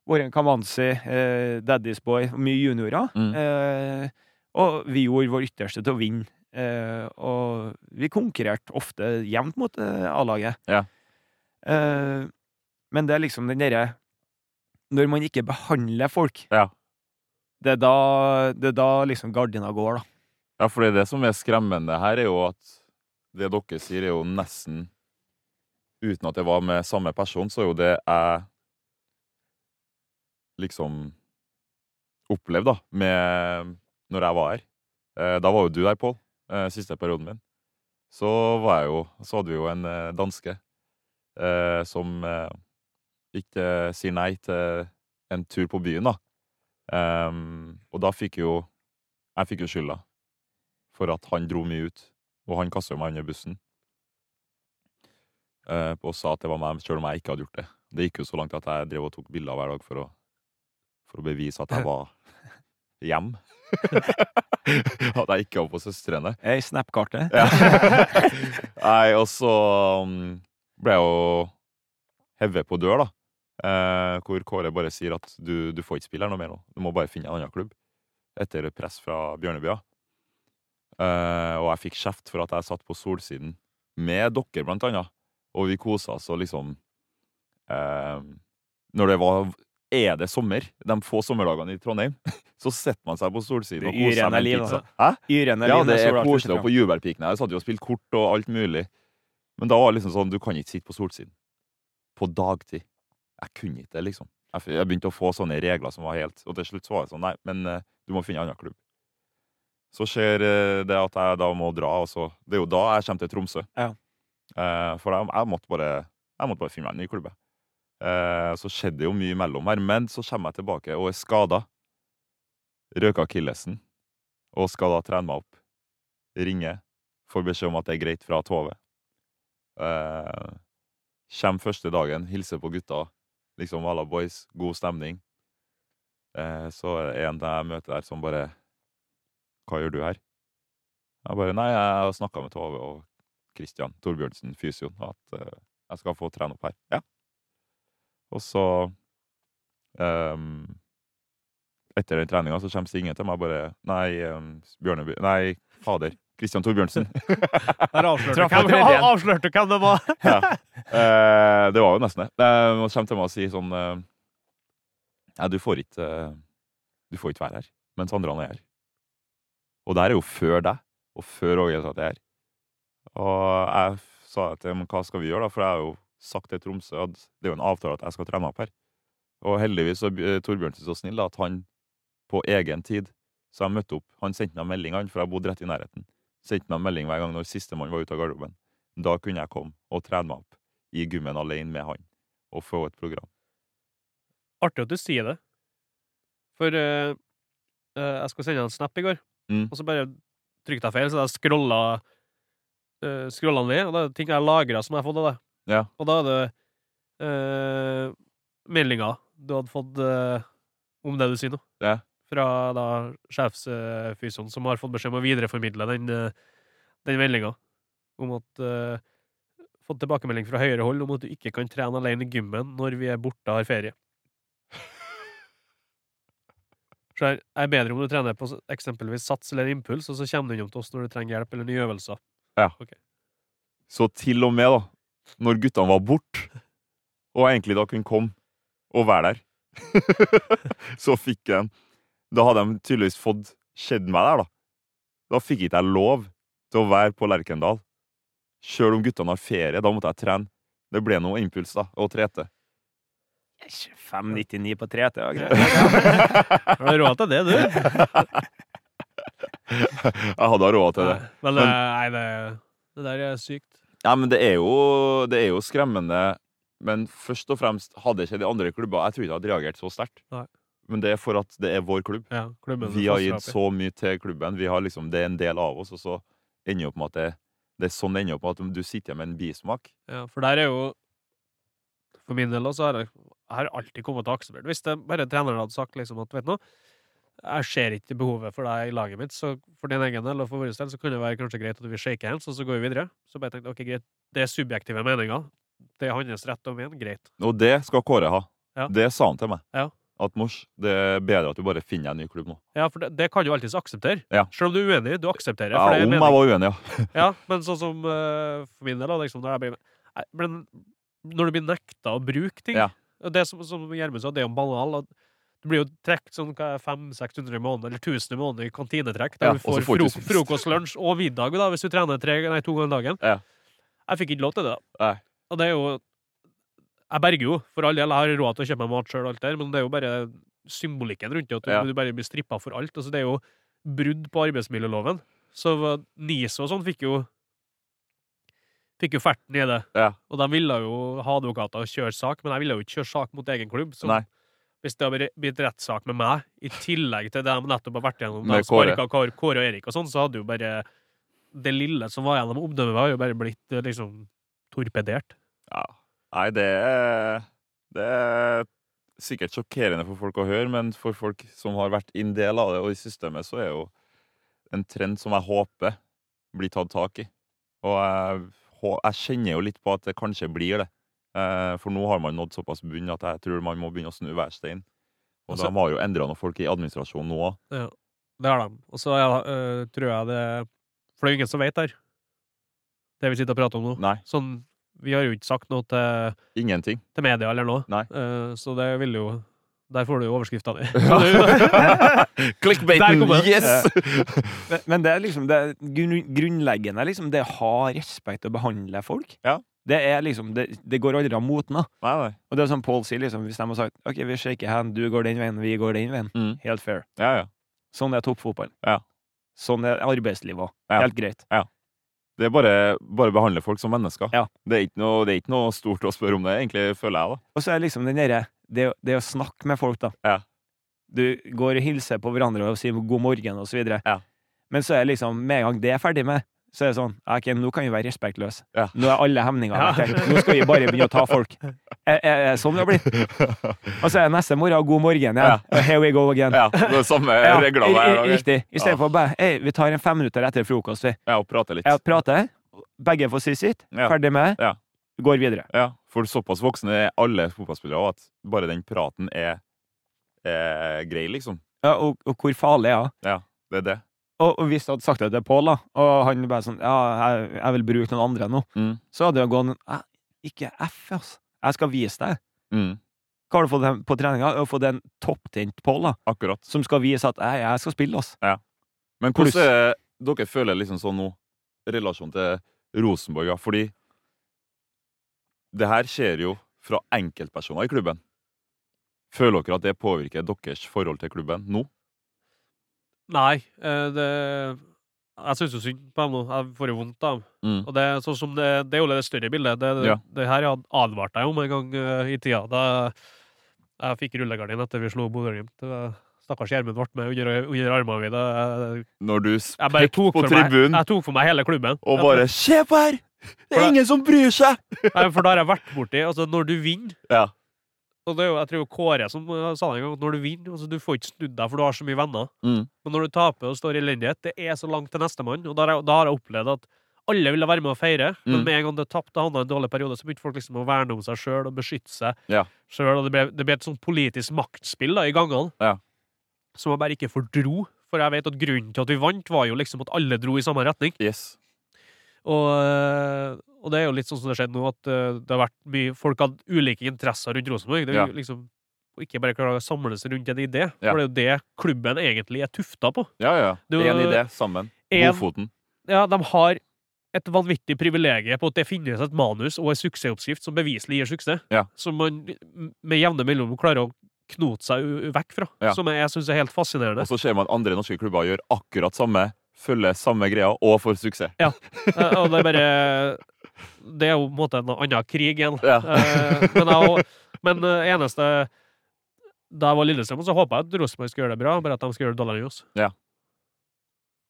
Warren Kamanzi, eh, Daddy's Boy, mye juniorer.
Mm.
Eh, og vi gjorde vår ytterste til å vinne. Eh, og vi konkurrerte ofte jevnt mot eh, A-laget.
Ja.
Eh, men det er liksom den derre Når man ikke behandler folk,
Ja.
det, er da, det er da liksom gardina går, da.
Ja, for det er det som er skremmende her, er jo at det dere sier, er jo nesten Uten at det var med samme person, så er jo det jeg liksom opplevde, da, med Når jeg var her. Eh, Da var jo du her, Pål, eh, siste perioden min. Så var jeg jo Så hadde vi jo en eh, danske eh, som eh, ikke sier nei til en tur på byen, da. Em, og da fikk jo Jeg fikk jo skylda for at han dro mye ut, og han kastet jo meg under bussen. Eh, og sa at det var meg, selv om jeg ikke hadde gjort det. Det gikk jo så langt at jeg drev og tok bilder hver dag for å, for å bevise at jeg var hjem. at jeg ikke var på søstrene.
Jeg er i Snap-kartet.
Ja. Nei, og så mm, ble jeg jo hevet på dør, da. Eh, hvor Kåre bare sier at du, du får ikke spille her noe mer nå. Du må bare finne en annen klubb. Etter press fra Bjørnebya. Eh, og jeg fikk kjeft for at jeg satt på Solsiden med dere, blant annet. Og vi kosa oss og liksom eh, Når det var Er det sommer? De få sommerdagene i Trondheim, så setter man seg på Solsiden og koser seg
Yrene
med
liv,
en pizza.
altså.
Hæ?
Yrene
Ja,
Line
det er
Sola
koselig.
Arntzen
Og på jubelpiken her satt vi og spilte kort og alt mulig. Men da var det liksom sånn, du kan ikke sitte på solsiden. På dagtid. Jeg kunne ikke det, liksom. Jeg f- Jeg begynte å få sånne regler som var helt Og til slutt så var det sånn, nei, men eh, du må finne en annen klubb. Så skjer eh, det at jeg da må dra, og så Det er jo da jeg kommer til Tromsø.
Ja.
Eh, for jeg, jeg, måtte bare, jeg måtte bare finne meg en ny klubbe. Eh, så skjedde det jo mye imellom her, men så kommer jeg tilbake og er skada. Røker akillesen. Og skal da trene meg opp. Ringer. Får beskjed om at det er greit fra Tove. Eh, Kjem første dagen, hilser på gutta. Liksom à la boys, god stemning. Eh, så er det en jeg møter der som bare 'Hva gjør du her?' Jeg bare 'Nei, jeg har snakka med Tove og Kristian Torbjørnsen, fysioen, at eh, jeg skal få trene opp her.' Ja. Og så ehm, Etter den treninga så kommer Signe til meg og bare 'Nei, um, Bjørneby Nei, fader. Kristian Torbjørnsen.'
Der avslørte
Traff på
du hvem,
tredje.
av- avslørte hvem det var!
ja. Eh, det var jo nesten det. Eh, Man kommer til meg og sier sånn eh, Nei, du får ikke eh, Du får ikke være her mens andre er her. Og det her er jo før deg, og før Åge sa at jeg er her. Og jeg f- sa til dem hva skal vi gjøre, da, for jeg har jo sagt til Tromsø at det er jo en avtale at jeg skal trene opp her. Og heldigvis så er eh, Torbjørnsen så snill da, at han på egen tid Så jeg møtte opp. Han sendte meg en melding, han, for jeg bodde rett i nærheten. Sendte meg en melding hver gang når sistemann var ute av garderoben. Da kunne jeg komme og trene meg opp i gymmen alene med han, og få et program.
Artig at du sier det. For eh, eh, jeg skulle sende en snap i går,
Mm.
og så bare trykte jeg feil, så jeg scrolla, eh, scrolla ned, og det er ting jeg lagra som jeg har fått av deg.
Ja.
Og da er det uh, meldinga du hadde fått eh, om det du sier nå,
Ja.
fra da sjefsfysioen, som har fått beskjed om å videreformidle den, eh, den meldinga om at eh, Fått tilbakemelding fra høyere hold om at du ikke kan trene alene i gymmen når vi er borte og har ferie. Så her, jeg er bedre om du trener på s- eksempelvis sats eller impuls, og så kommer du innom til oss når du trenger hjelp eller nye øvelser.
Så til og med, da, når guttene var borte, og jeg egentlig da kunne komme og være der, så fikk jeg en Da hadde de tydeligvis fått sett meg der, da. Da fikk ikke jeg lov til å være på Lerkendal. Sjøl om guttene har ferie, da måtte jeg trene. Det ble noe impuls, da, å trete.
5,99 på 3, det var greit.
Har du råd til det, du?
Jeg hadde råd til det.
Men,
Men-
eh, nei, det, det der er sykt.
Ja, men det er jo, det er jo skremmende. Men først og fremst hadde ikke de andre klubber Jeg tror ikke jeg hadde reagert så sterkt.
Nei.
Men det er for at det er vår klubb.
Ja, klubben
Vi
du
har
fostrer
gitt
opp i.
så mye til klubben. Vi har liksom, det er en del av oss, og så ender det opp med at det, det er sånn det ender opp med at du sitter igjen med en bismak.
Ja, for der er jo For min del, da, så har jeg, jeg har alltid kommet til å akseptere det. Hvis det bare treneren hadde sagt liksom at vet du noe, jeg ser ikke behovet for deg i laget mitt, så for din egen del og for vår del så kan det være kanskje greit at vi shaker hands, og så går vi videre. Så bare tenkte jeg, ok, greit, det er subjektive meninger. Det er hans rett og min, greit.
Og det skal Kåre ha.
Ja.
Det sa han til meg.
Ja.
At mors, det er bedre at du bare finner deg en ny klubb nå.
Ja, for det, det kan du alltids akseptere.
Ja.
Selv om du er uenig, du aksepterer.
Ja,
for det er
om
mening.
jeg var uenig, ja.
Ja, men sånn som eh, for min del, da, liksom, når jeg blir Nei, men Når du blir nekta å bruke ting
Ja.
og Det som, som Gjermund sa, det er jo banal. At du blir jo trukket sånn 500-600 i måneden, eller 1000 i måneden i kantinetrekk, der
Ja,
du
og så
får,
får du
frok
ikke spist.
frokost, lunsj og middag da, hvis du trener tre, nei, to ganger dagen.
Ja.
Jeg fikk ikke lov til det. da.
Nei.
Og det er jo Jeg berger jo, for all del. Jeg har råd til å kjøpe meg mat sjøl, alt der, men det er jo bare symbolikken rundt det, at du,
Ja.
du bare blir strippa for alt. Altså, det er jo brudd på arbeidsmiljøloven. Så var- NISO og sånn fikk jo Fikk jo ferten i det.
Ja.
Og de ville jo ha advokater og kjøre sak, men jeg ville jo ikke kjøre sak mot egen klubb. Så
Nei.
hvis det hadde blitt rettssak med meg, i tillegg til det de nettopp har vært gjennom,
Med
med Kåre. Kåre, Kåre og Erik og sånn, så hadde jo bare det lille som var gjennom omdømmet, var jo bare blitt eh, liksom torpedert.
Ja. Nei, det er, det er sikkert sjokkerende for folk å høre, men for folk som har vært en del av det og i systemet, så er jo en trend som jeg håper blir tatt tak i. Og jeg, hå- jeg kjenner jo litt på at det kanskje blir det. Eh, For nå har man nådd såpass bunn at jeg tror man må begynne å snu hver stein. Og
Altså-
de har jo endra noen folk i administrasjonen nå òg.
Det har de. Og så ja, eh, tror jeg det For det er jo ingen som vet her, det vi sitter og prater om nå.
Nei,
Sånn, vi har jo ikke sagt noe til
ingenting.
til media eller noe.
Nei.
Eh, så det vil jo Der får du jo overskrifta di. Der
Clickbaiten!
kommer det.
Yes!
Men, men det er liksom det er grunn, grunnleggende liksom, det å ha respekt og behandle folk.
Ja.
Det er liksom, det, det går aldri av moten. da.
Nei, nei.
Og det er som Paul sier, liksom, hvis de har sagt OK, vi shaker hand, du går den veien, vi går den veien.
Mm.
Helt fair.
Ja, ja.
Sånn er toppfotballen.
Ja.
Sånn er arbeidslivet òg.
Ja.
Helt greit.
Ja. Det er bare, bare behandle folk som mennesker.
Ja.
Det, er ikke noe, det er ikke noe stort å spørre om det, egentlig, føler jeg. da.
Og så er liksom den derre det, det å snakke med folk, da.
Ja.
Du går og hilser på hverandre og sier god morgen og så videre.
Ja.
Men så er det liksom, med en gang det er ferdig med, så er det sånn ja, OK, nå kan vi være respektløse.
Ja.
Nå er alle hemninger borte. Nå skal vi bare begynne å ta folk. Er, er, er sånn det har blitt. Og så er det neste morgen god morgen igjen.
Ja.
Og Here we go again.
Ja, Det er samme
Ja,
regler hver
i- i-
dag.
Riktig. I stedet
Ja.
for bare «Ei, vi tar en fem minutter etter frokost. Vi
Ja, og prate litt.
Jeg prater, begge får si sitt,
Ja.
ferdig med,
Ja.
går videre.
Ja, for såpass voksne er alle fotballspillere også, at bare den praten er, er grei, liksom.
Ja, og, og hvor farlig er det?
Det er det.
Og, og hvis jeg hadde sagt det til Pål, da, og han bare sånn Ja, jeg, jeg vil bruke noen andre nå,
Mm.
så hadde jeg gått «Æ, Ikke F, altså. Jeg skal vise deg.
Mm.
Hva har du fått dem på treninga? Jeg har fått en topptent Pål, da,
Akkurat.
som skal vise at jeg, jeg skal spille, altså.
Men
Pluss-
hvordan er det dere føler liksom sånn nå, i relasjon til Rosenborg? Ja? Fordi det her skjer jo fra enkeltpersoner i klubben. Føler dere at det påvirker deres forhold til klubben nå?
Nei, eh, det Jeg syns jo synd på dem nå. Jeg får jo vondt av dem.
Mm.
Og det, er sånn som det, det er jo det større bildet. Det, det,
Ja.
det her jeg advarte jeg om en gang eh, i tida. Da jeg fikk rullegardin etter vi slo Bodø-Glimt. Eh, Stakkars Gjermund ble med under, under armene mine. Jeg,
Når du
jeg bare
pekte
tok
på
for, meg,
tribunen
jeg tok for meg hele klubben.
og bare 'Se på her! Det
For
er
det-
ingen som bryr seg!'
Nei, For da har jeg vært borti Altså, når du vinner
Ja.
Og det er jo, jeg tror jo Kåre som eh, sa det en gang, at når du vinner altså, Du får ikke snudd deg, for du har så mye venner.
Mm.
Men når du taper og står i elendighet, det er så langt til nestemann. Og da har jeg, da har jeg opplevd at alle ville være med å feire, men
Mm.
med en gang det tapte havna i en dårlig periode, så begynte folk liksom å verne om seg sjøl og beskytte seg
Ja.
sjøl. Og det ble, det ble et sånt politisk maktspill da, i gangene
Ja.
som jeg bare ikke fordro. For jeg vet at grunnen til at vi vant, var jo liksom at alle dro i samme retning.
Yes.
Og, øh, og det er jo litt sånn som det skjedde nå, at øh, det har vært mye Folk hadde ulike interesser rundt Rosenborg. Det er jo
Ja.
liksom å ikke bare klare å samle seg rundt en idé,
Ja.
for det er jo det klubben egentlig er tufta på.
Ja, ja.
Du-
Én idé sammen.
En-
Godfoten.
Ja, de har et vanvittig privilegium på at det finnes et manus og en suksessoppskrift som beviselig gir suksess,
Ja.
som man med jevne mellomrom klarer å knote seg u- vekk fra,
Ja.
som jeg syns er helt fascinerende.
Og så ser man at andre norske klubber gjør akkurat samme, følger samme greia og får suksess.
Eh, Og det er bare Det er jo på en måte en annen krig igjen.
Ja.
Eh, Men, jeg, men eh, eneste Da jeg var Lillestrøm, så håpa jeg at Rosenborg skulle gjøre det bra, bare at de skulle gjøre det dårligere enn oss.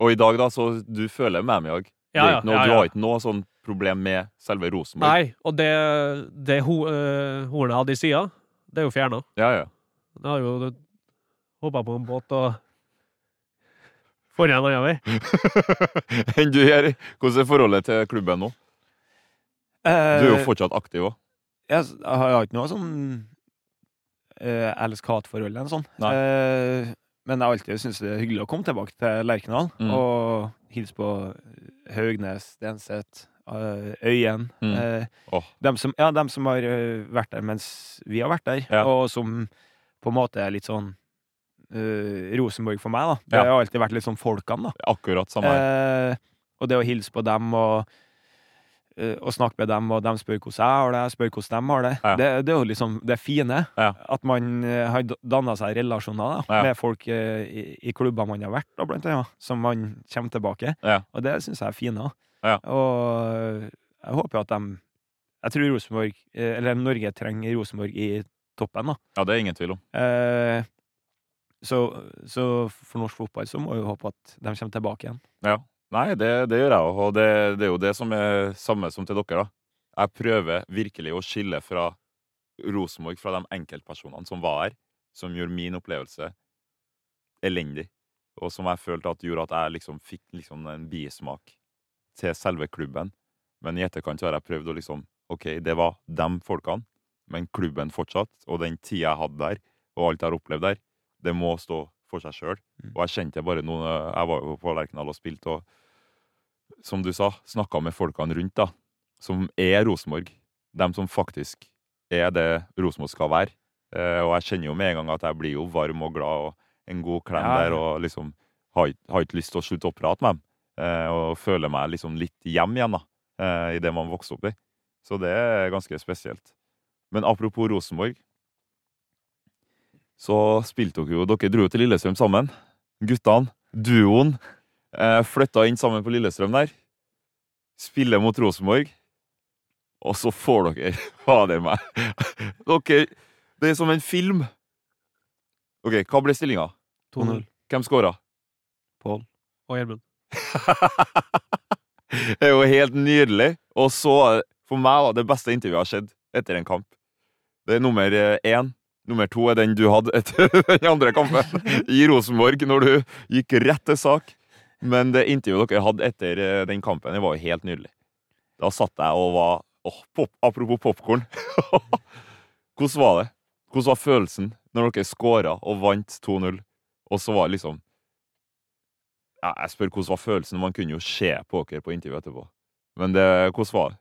Og i dag, da, så du føler med meg i dag. Det
Ja,
er
ja,
ikke noe,
ja,
Du
ja.
har ikke noe sånn problem med selve Rosenborg?
Nei, og det, det ho, eh, hornet hadde i sida, det er jo fjerna.
Ja, ja.
Det har jo hoppa på en båt og Får igjen en annen vei.
Enn du gjør. Hvordan er forholdet til klubben nå? Du
Eh,
er jo fortsatt aktiv òg.
Jeg, jeg har ikke noe sånn eh, elsk-hat-forhold eller noe sånt.
Nei.
Eh, men jeg alltid syns det er hyggelig å komme tilbake til Lerkendal
Mm.
og hilse på eh, Haugnes, Stenseth, eh, Øyen.
Mm.
Eh,
Åh.
dem, som, ja, dem som har eh, vært der mens vi har vært der,
Ja.
og som på en måte er litt sånn eh, Rosenborg for meg, da. Det
Ja.
har alltid vært litt sånn folkene, da.
Akkurat samme her.
Eh, og det å hilse på dem og, eh, og snakke med dem, og de spør hvordan jeg har det, jeg spør hvordan de har det.
Ja.
det. Det er jo liksom det fine.
Ja.
At man eh, har danna seg relasjoner da,
Ja.
med folk eh, i, i klubber man har vært, da, blant annet, som man kommer tilbake.
Ja.
Og det syns jeg er fine. da.
Ja.
Og eh, jeg håper at de Jeg tror Rosenborg, eh, eller Norge trenger Rosenborg i toppen, da.
Ja, det er ingen tvil om.
Eh, så, så for norsk fotball så må vi håpe at de kommer tilbake igjen.
Nei, det, det gjør jeg òg, og det, det er jo det som er samme som til dere, da. Jeg prøver virkelig å skille fra Rosenborg, fra de enkeltpersonene som var her, som gjorde min opplevelse elendig, og som jeg følte at gjorde at jeg liksom fikk liksom en bismak til selve klubben. Men i etterkant så har jeg prøvd å liksom OK, det var dem folkene, men klubben fortsatt, og den tida jeg hadde der, og alt jeg har opplevd der, det må stå for seg sjøl. Og jeg kjente bare noen Jeg var jo på Lerkendal og spilte, og som du sa, snakka med folkene rundt, da. Som er Rosenborg. Dem som faktisk er det Rosenborg skal være. Eh, og jeg kjenner jo med en gang at jeg blir jo varm og glad, og en god klem
Ja, ja.
der, og liksom har, ikke- har ikke lyst til å slutte å prate med dem. Eh, og føler meg liksom litt hjem igjen, da. Eh, I det man vokste opp i. Så det er ganske spesielt. Men apropos Rosenborg, så spilte dere jo Dere dro jo til Lillestrøm sammen. Guttene, duoen, eh, flytta inn sammen på Lillestrøm der. spiller mot Rosenborg, og så får dere Fader meg. Dere Det er som en film. OK, hva ble stillinga?
2-0.
Hvem scora?
Og Gjermund.
det er jo helt nydelig. Og så, for meg, var det beste intervjuet jeg har sett etter en kamp. Det er nummer eh, én. Nummer to er den du hadde etter den andre kampen i Rosenborg, når du gikk rett til sak. Men det intervjuet dere hadde etter eh, den kampen, det var jo helt nydelig. Da satt jeg og var åh, pop, Apropos popkorn. Hvordan var det? Hvordan var følelsen når dere skåra og vant 2-0, og så var det liksom ja, jeg spør hvordan var følelsen. Man kunne jo se på dere på intervjuet etterpå. Men det, hvordan var det?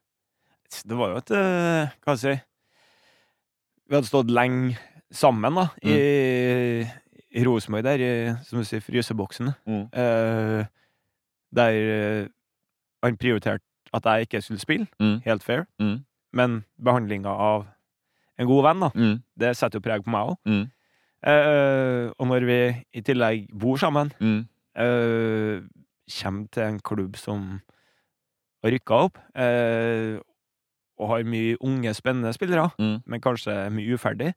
Det var jo et eh, Hva skal jeg si Vi hadde stått lenge sammen, da,
Mm.
i, i Rosenborg der, i, som du sier, fryseboksen.
Mm.
Eh, der eh, han prioriterte at jeg ikke skulle spille,
Mm.
helt fair,
Mm.
men behandlinga av en god venn, da,
Mm.
det setter jo preg på meg òg.
Mm.
og når vi i tillegg bor sammen,
Mm.
eh, kommer til en klubb som har rykka opp, eh, og har mye unge, spennende spillere,
Mm.
men kanskje mye uferdig.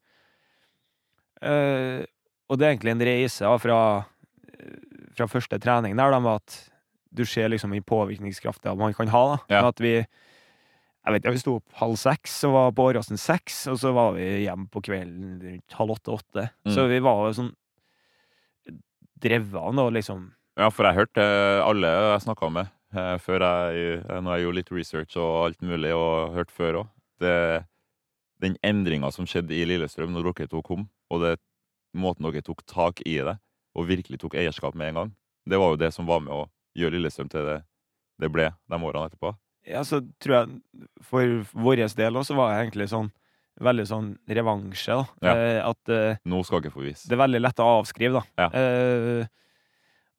Eh, og det er egentlig en reise da, fra, eh, fra første trening der, da, med at du ser liksom i påvirkningskrafta man kan ha. da,
Ja.
med at vi jeg vet ikke, Vi sto opp halv seks og var på Åråsen seks, og så var vi hjemme på kvelden rundt halv åtte-åtte.
Mm.
Så vi var jo sånn drevet av noe, liksom
Ja, for jeg hørte eh, alle jeg snakka med eh, før jeg eh, Når jeg gjorde litt research og alt mulig, og hørte før òg Den endringa som skjedde i Lillestrøm når dere to kom, og det måten dere tok tak i det, og virkelig tok eierskap med en gang, det var jo det som var med å gjøre Lillestrøm til det det ble de årene etterpå.
ja, så tror jeg for vår del også var jeg egentlig sånn veldig sånn revansje, da.
Ja.
Eh, at eh,
Nå skal dere få vise.
det er veldig lett å avskrive, da.
Ja.
Eh,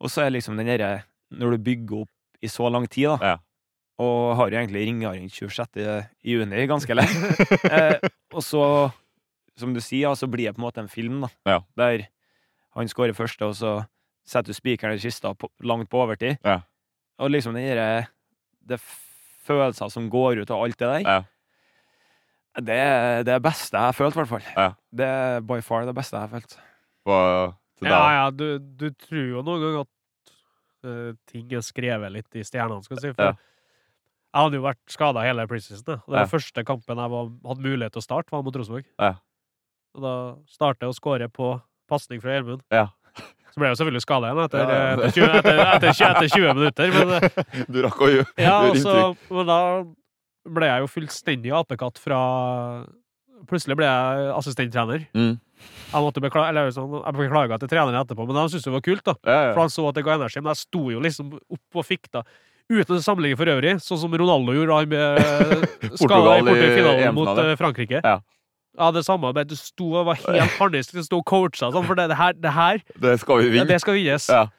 og så er liksom den derre Når du bygger opp i så lang tid, da,
Ja.
og har jo egentlig ringearring 26. juni ganske lenge, eh, og så, som du sier, ja, så blir det på en måte en film, da,
Ja.
der han skårer første, og så setter du spikeren i kista på, langt på overtid.
Ja.
Og liksom den derre Det er følelser som går ut av alt det der.
Ja.
Det er det beste jeg har følt, i hvert fall.
Ja.
Det er by far det beste jeg har følt.
Hva- til deg,
Ja, ja, du, du tror jo noen ganger at eh, ting er skrevet litt i stjernene, skal jeg si. For
Ja.
jeg hadde jo vært skada hele preseason. jeg. Og
Ja.
Den første kampen jeg var, hadde mulighet til å starte, var mot Rosenborg.
Ja.
Og da starter jeg å skåre på pasning fra Gjermund.
Ja.
Så ble jeg jo selvfølgelig skada igjen etter,
Ja, ja.
etter, 20, etter, etter, 20, etter 20 minutter. Men, eh,
Du rakk å gjøre
ja,
gjøre
altså, og
inntrykk.
så- men da ble jeg jo fullstendig apekatt fra Plutselig ble jeg assistenttrener.
Mm.
Jeg måtte beklage, eller sånn, jeg beklaga til treneren etterpå, men de syntes det var kult, da.
Ja, ja.
For han så at det ga energi. Men jeg sto jo liksom opp og fikta. Uten sammenligning for øvrig, sånn som Ronaldo gjorde han med skada
Portugal i
i finalen
EM-finalen.
mot eh, Frankrike.
Ja.
Ja, det samme, men du sto og var helt harnisk, du sto og coacha sånn, for det, det her, det her
Det skal vi
ja,
vinne.
det skal vinnes.
Ja.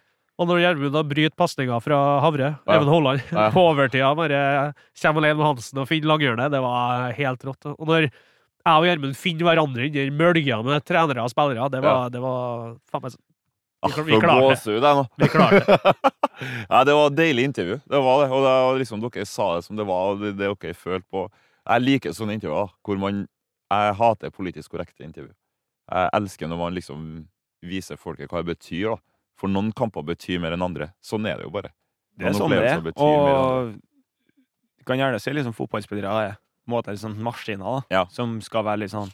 Og når Gjermund da bryter pasninga fra Havre,
Ja.
Even Holland,
Ja.
på overtida, bare kommer alene med Hansen og finner langhjørnet, det var helt rått. Og når jeg og Gjermund finner hverandre inni mølja med trenere og spillere, det var, det var faen meg så- Vi,
Ah,
vi
nå
klarte det.
blåser vi deg nå.
Vi klarte det.
Nei, det var et deilig intervju. Det var det. Og det var liksom, dere sa det som det var, og det, det dere følte på. Jeg liker sånne intervjuer da, hvor man Jeg hater politisk korrekte intervju. Jeg elsker når man liksom viser folket hva det betyr, da. For noen kamper betyr mer enn andre. Sånn er det jo bare.
Det er
Noen
sånn det
opplevelser
er.
betyr mer enn andre.
Og du kan gjerne se liksom fotballspillere er på en måte litt sånn maskiner da,
Ja.
som skal være litt sånn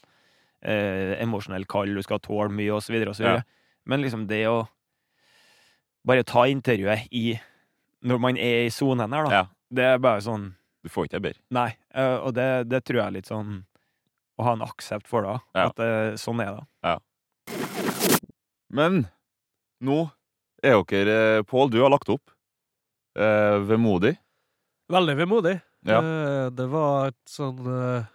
eh, emosjonell kald, du skal tåle mye og så videre og så
Ja.
videre. Men liksom det å bare ta intervjuet i når man er i sonen her, da,
Ja.
det er bare sånn
Du får ikke det bedre.
Nei. eh, og det, det tror jeg er litt sånn å ha en aksept for det. da,
Ja.
At eh, sånn er det.
Men nå er dere eh, Pål, du har lagt opp. Eh, vemodig.
Veldig vemodig.
Ja.
Eh, Det var et sånn eh,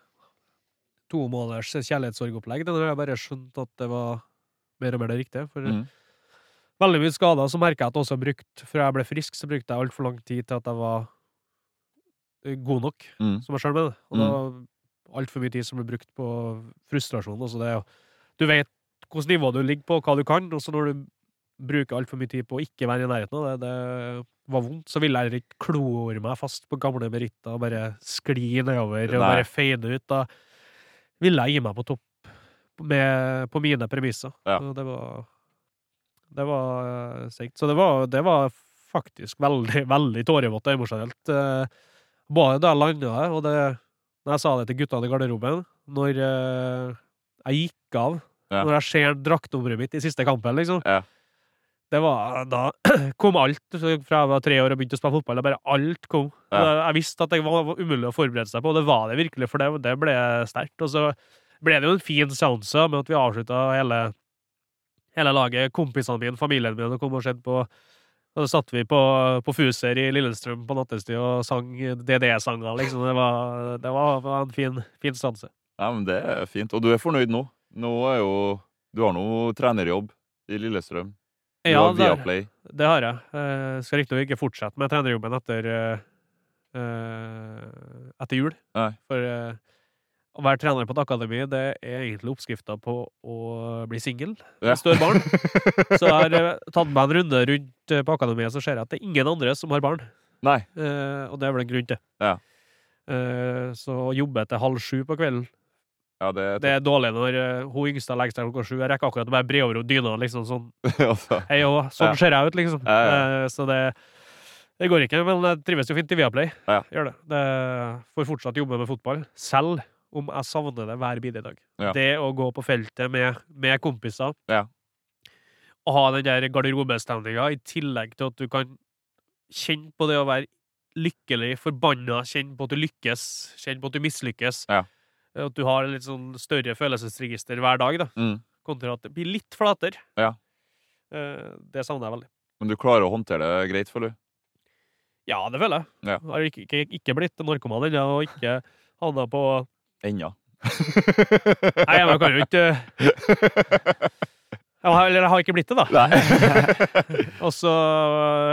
to måneders kjærlighetssorgopplegg. Den har jeg bare skjønt at det var mer og mer det riktige. For
Mm.
veldig mye skader, så merker jeg at jeg også har brukt Før jeg ble frisk, så brukte jeg altfor lang tid til at jeg var eh, god nok,
Mm.
som jeg sjøl mener. Og det var altfor mye tid som ble brukt på frustrasjon. Altså det, er jo- du vet hvilket nivå du ligger på, hva du kan, og så når du bruke altfor mye tid på å ikke være i nærheten av det, det var vondt, så ville jeg ikke klore meg fast på gamle meritter og bare skli nedover og
Nei.
bare fade ut. Da ville jeg gi meg på topp med, på mine premisser.
Ja.
Så Det var, det var eh, seigt. Så det var, det var faktisk veldig, veldig tårevått og emosjonelt. eh, Både da jeg landa her, og det, når jeg sa det til guttene i garderoben, når eh, jeg gikk av,
Ja.
når jeg ser draktnummeret mitt i siste kampen, liksom.
Ja.
Det var, da kom alt, så fra jeg var tre år og begynte å spille fotball, det bare alt kom.
Ja.
Jeg visste at det var var umulig å forberede seg på, og det var det virkelig, for det, det ble sterkt. Og så ble det jo en fin seanse med at vi avslutta hele, hele laget, kompisene mine, familien min, og kom og sett på og så satt vi på, på Fuser i Lillestrøm på nattestid og sang DD-sanger, liksom. Det var, det var, var en fin, fin stanse.
Ja, men det er fint. Og du er fornøyd nå? Nå er jo Du har nå trenerjobb i Lillestrøm. Du har
der-
Viaplay.
Det har jeg. Eh, skal riktignok ikke fortsette med trenerjobben etter eh, eh, etter jul.
Nei.
For eh, å være trener på et akademi, det er egentlig oppskrifta på å bli singel.
Ja.
Større barn. Så jeg har eh, tatt meg en runde rundt eh, på akademiet, så ser jeg at det er ingen andre som har barn.
Nei.
Eh, og det er vel en grunn til.
Ja.
Eh, så å jobbe til halv sju på kvelden
Ja, det er
Det er dårlig når eh, hun yngste legger seg klokka sju. Jeg rekker akkurat å bare bre over henne dyna. Liksom, sånn
altså.
Hei og sånn
Ja.
ser jeg ut, liksom.
Ja, ja.
Eh, Så det, det går ikke, men jeg trives jo fint i Viaplay.
Ja.
Gjør det. det. Får fortsatt jobbe med fotball, selv om jeg savner det hver bidige dag.
Ja.
Det å gå på feltet med, med kompiser,
Ja.
og ha den der garderobestemninga, i tillegg til at du kan kjenne på det å være lykkelig, forbanna, kjenne på at du lykkes, kjenne på at du mislykkes.
Ja.
At du har en litt sånn større følelsesregister hver dag, da
Mm.
kontra at det blir litt flatere.
Ja.
Eh, det savner jeg veldig.
Men du klarer å håndtere det greit, føler du?
Ja, det føler jeg.
Ja.
Jeg har ikke, ikke, ikke blitt narkoman ennå, og ikke havna på
Ennå.
Nei, men jeg kan jo ikke jeg har, Eller jeg har ikke blitt det, da.
Nei.
Og så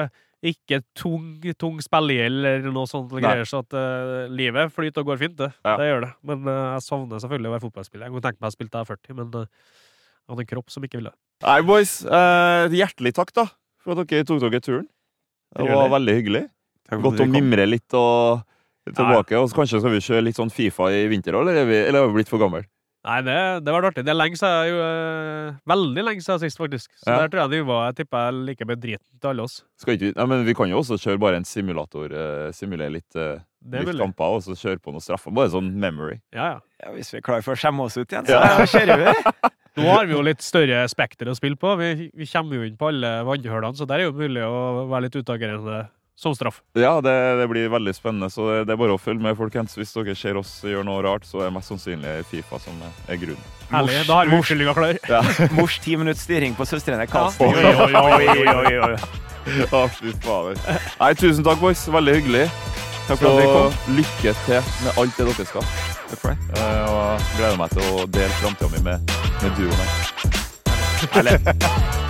eh, ikke tung, tung spillegjeld eller noe sånt
Nei.
greier, så at eh, livet flyter og går fint, det.
Ja.
Det gjør det. Men eh, jeg savner selvfølgelig å være fotballspiller. Jeg kunne tenke meg å spille da jeg er 40, men eh, jeg hadde en kropp som ikke ville.
Nei, boys. Eh, hjertelig takk, da, for at dere tok dere turen. Det
Trivelig.
var veldig hyggelig.
Takk for at
Godt å
dere kom.
mimre litt og tilbake. Og så kanskje skal vi kjøre litt sånn Fifa i vinter òg, eller, er vi- eller er vi blitt for gammel?
Nei, det, det var artig. Det er lenge siden, jeg, øh, veldig lenge siden sist, faktisk. Så
Ja.
der tror jeg nivået jeg tipper jeg like med driten til alle oss.
Skal ikke, vi- nei, men vi kan jo også kjøre bare en simulator. Eh, simulere litt, eh,
Det er
litt
mulig.
kamper og så kjøre på noen straffer. Bare sånn memory.
Ja, ja.
Ja, hvis vi er klare for å skjemme oss ut igjen, så ja, kjører vi.
Nå har vi jo litt større spekter å spille på. Vi, vi kommer jo inn på alle vannhølene, så der er jo mulig å være litt utagerende som straff.
Ja, det, det blir veldig spennende, så det, det er bare å følge med, folkens. Hvis dere ser oss gjøre noe rart, så er det mest sannsynlig Fifa som er, er grunnen.
Herlig. Da har vi unnskyldninga klar.
Mors ti minutts styring på søstrene Karlsen.
Oi, oi, oi, oi, oi, oi.
Å, fy fader. Nei, tusen takk, boys. Veldig hyggelig.
Takk for at dere
Så
kom.
lykke til med alt det dere skal. Eh, Takk for det. Og jeg gleder meg til å dele framtida mi med, med duoen her.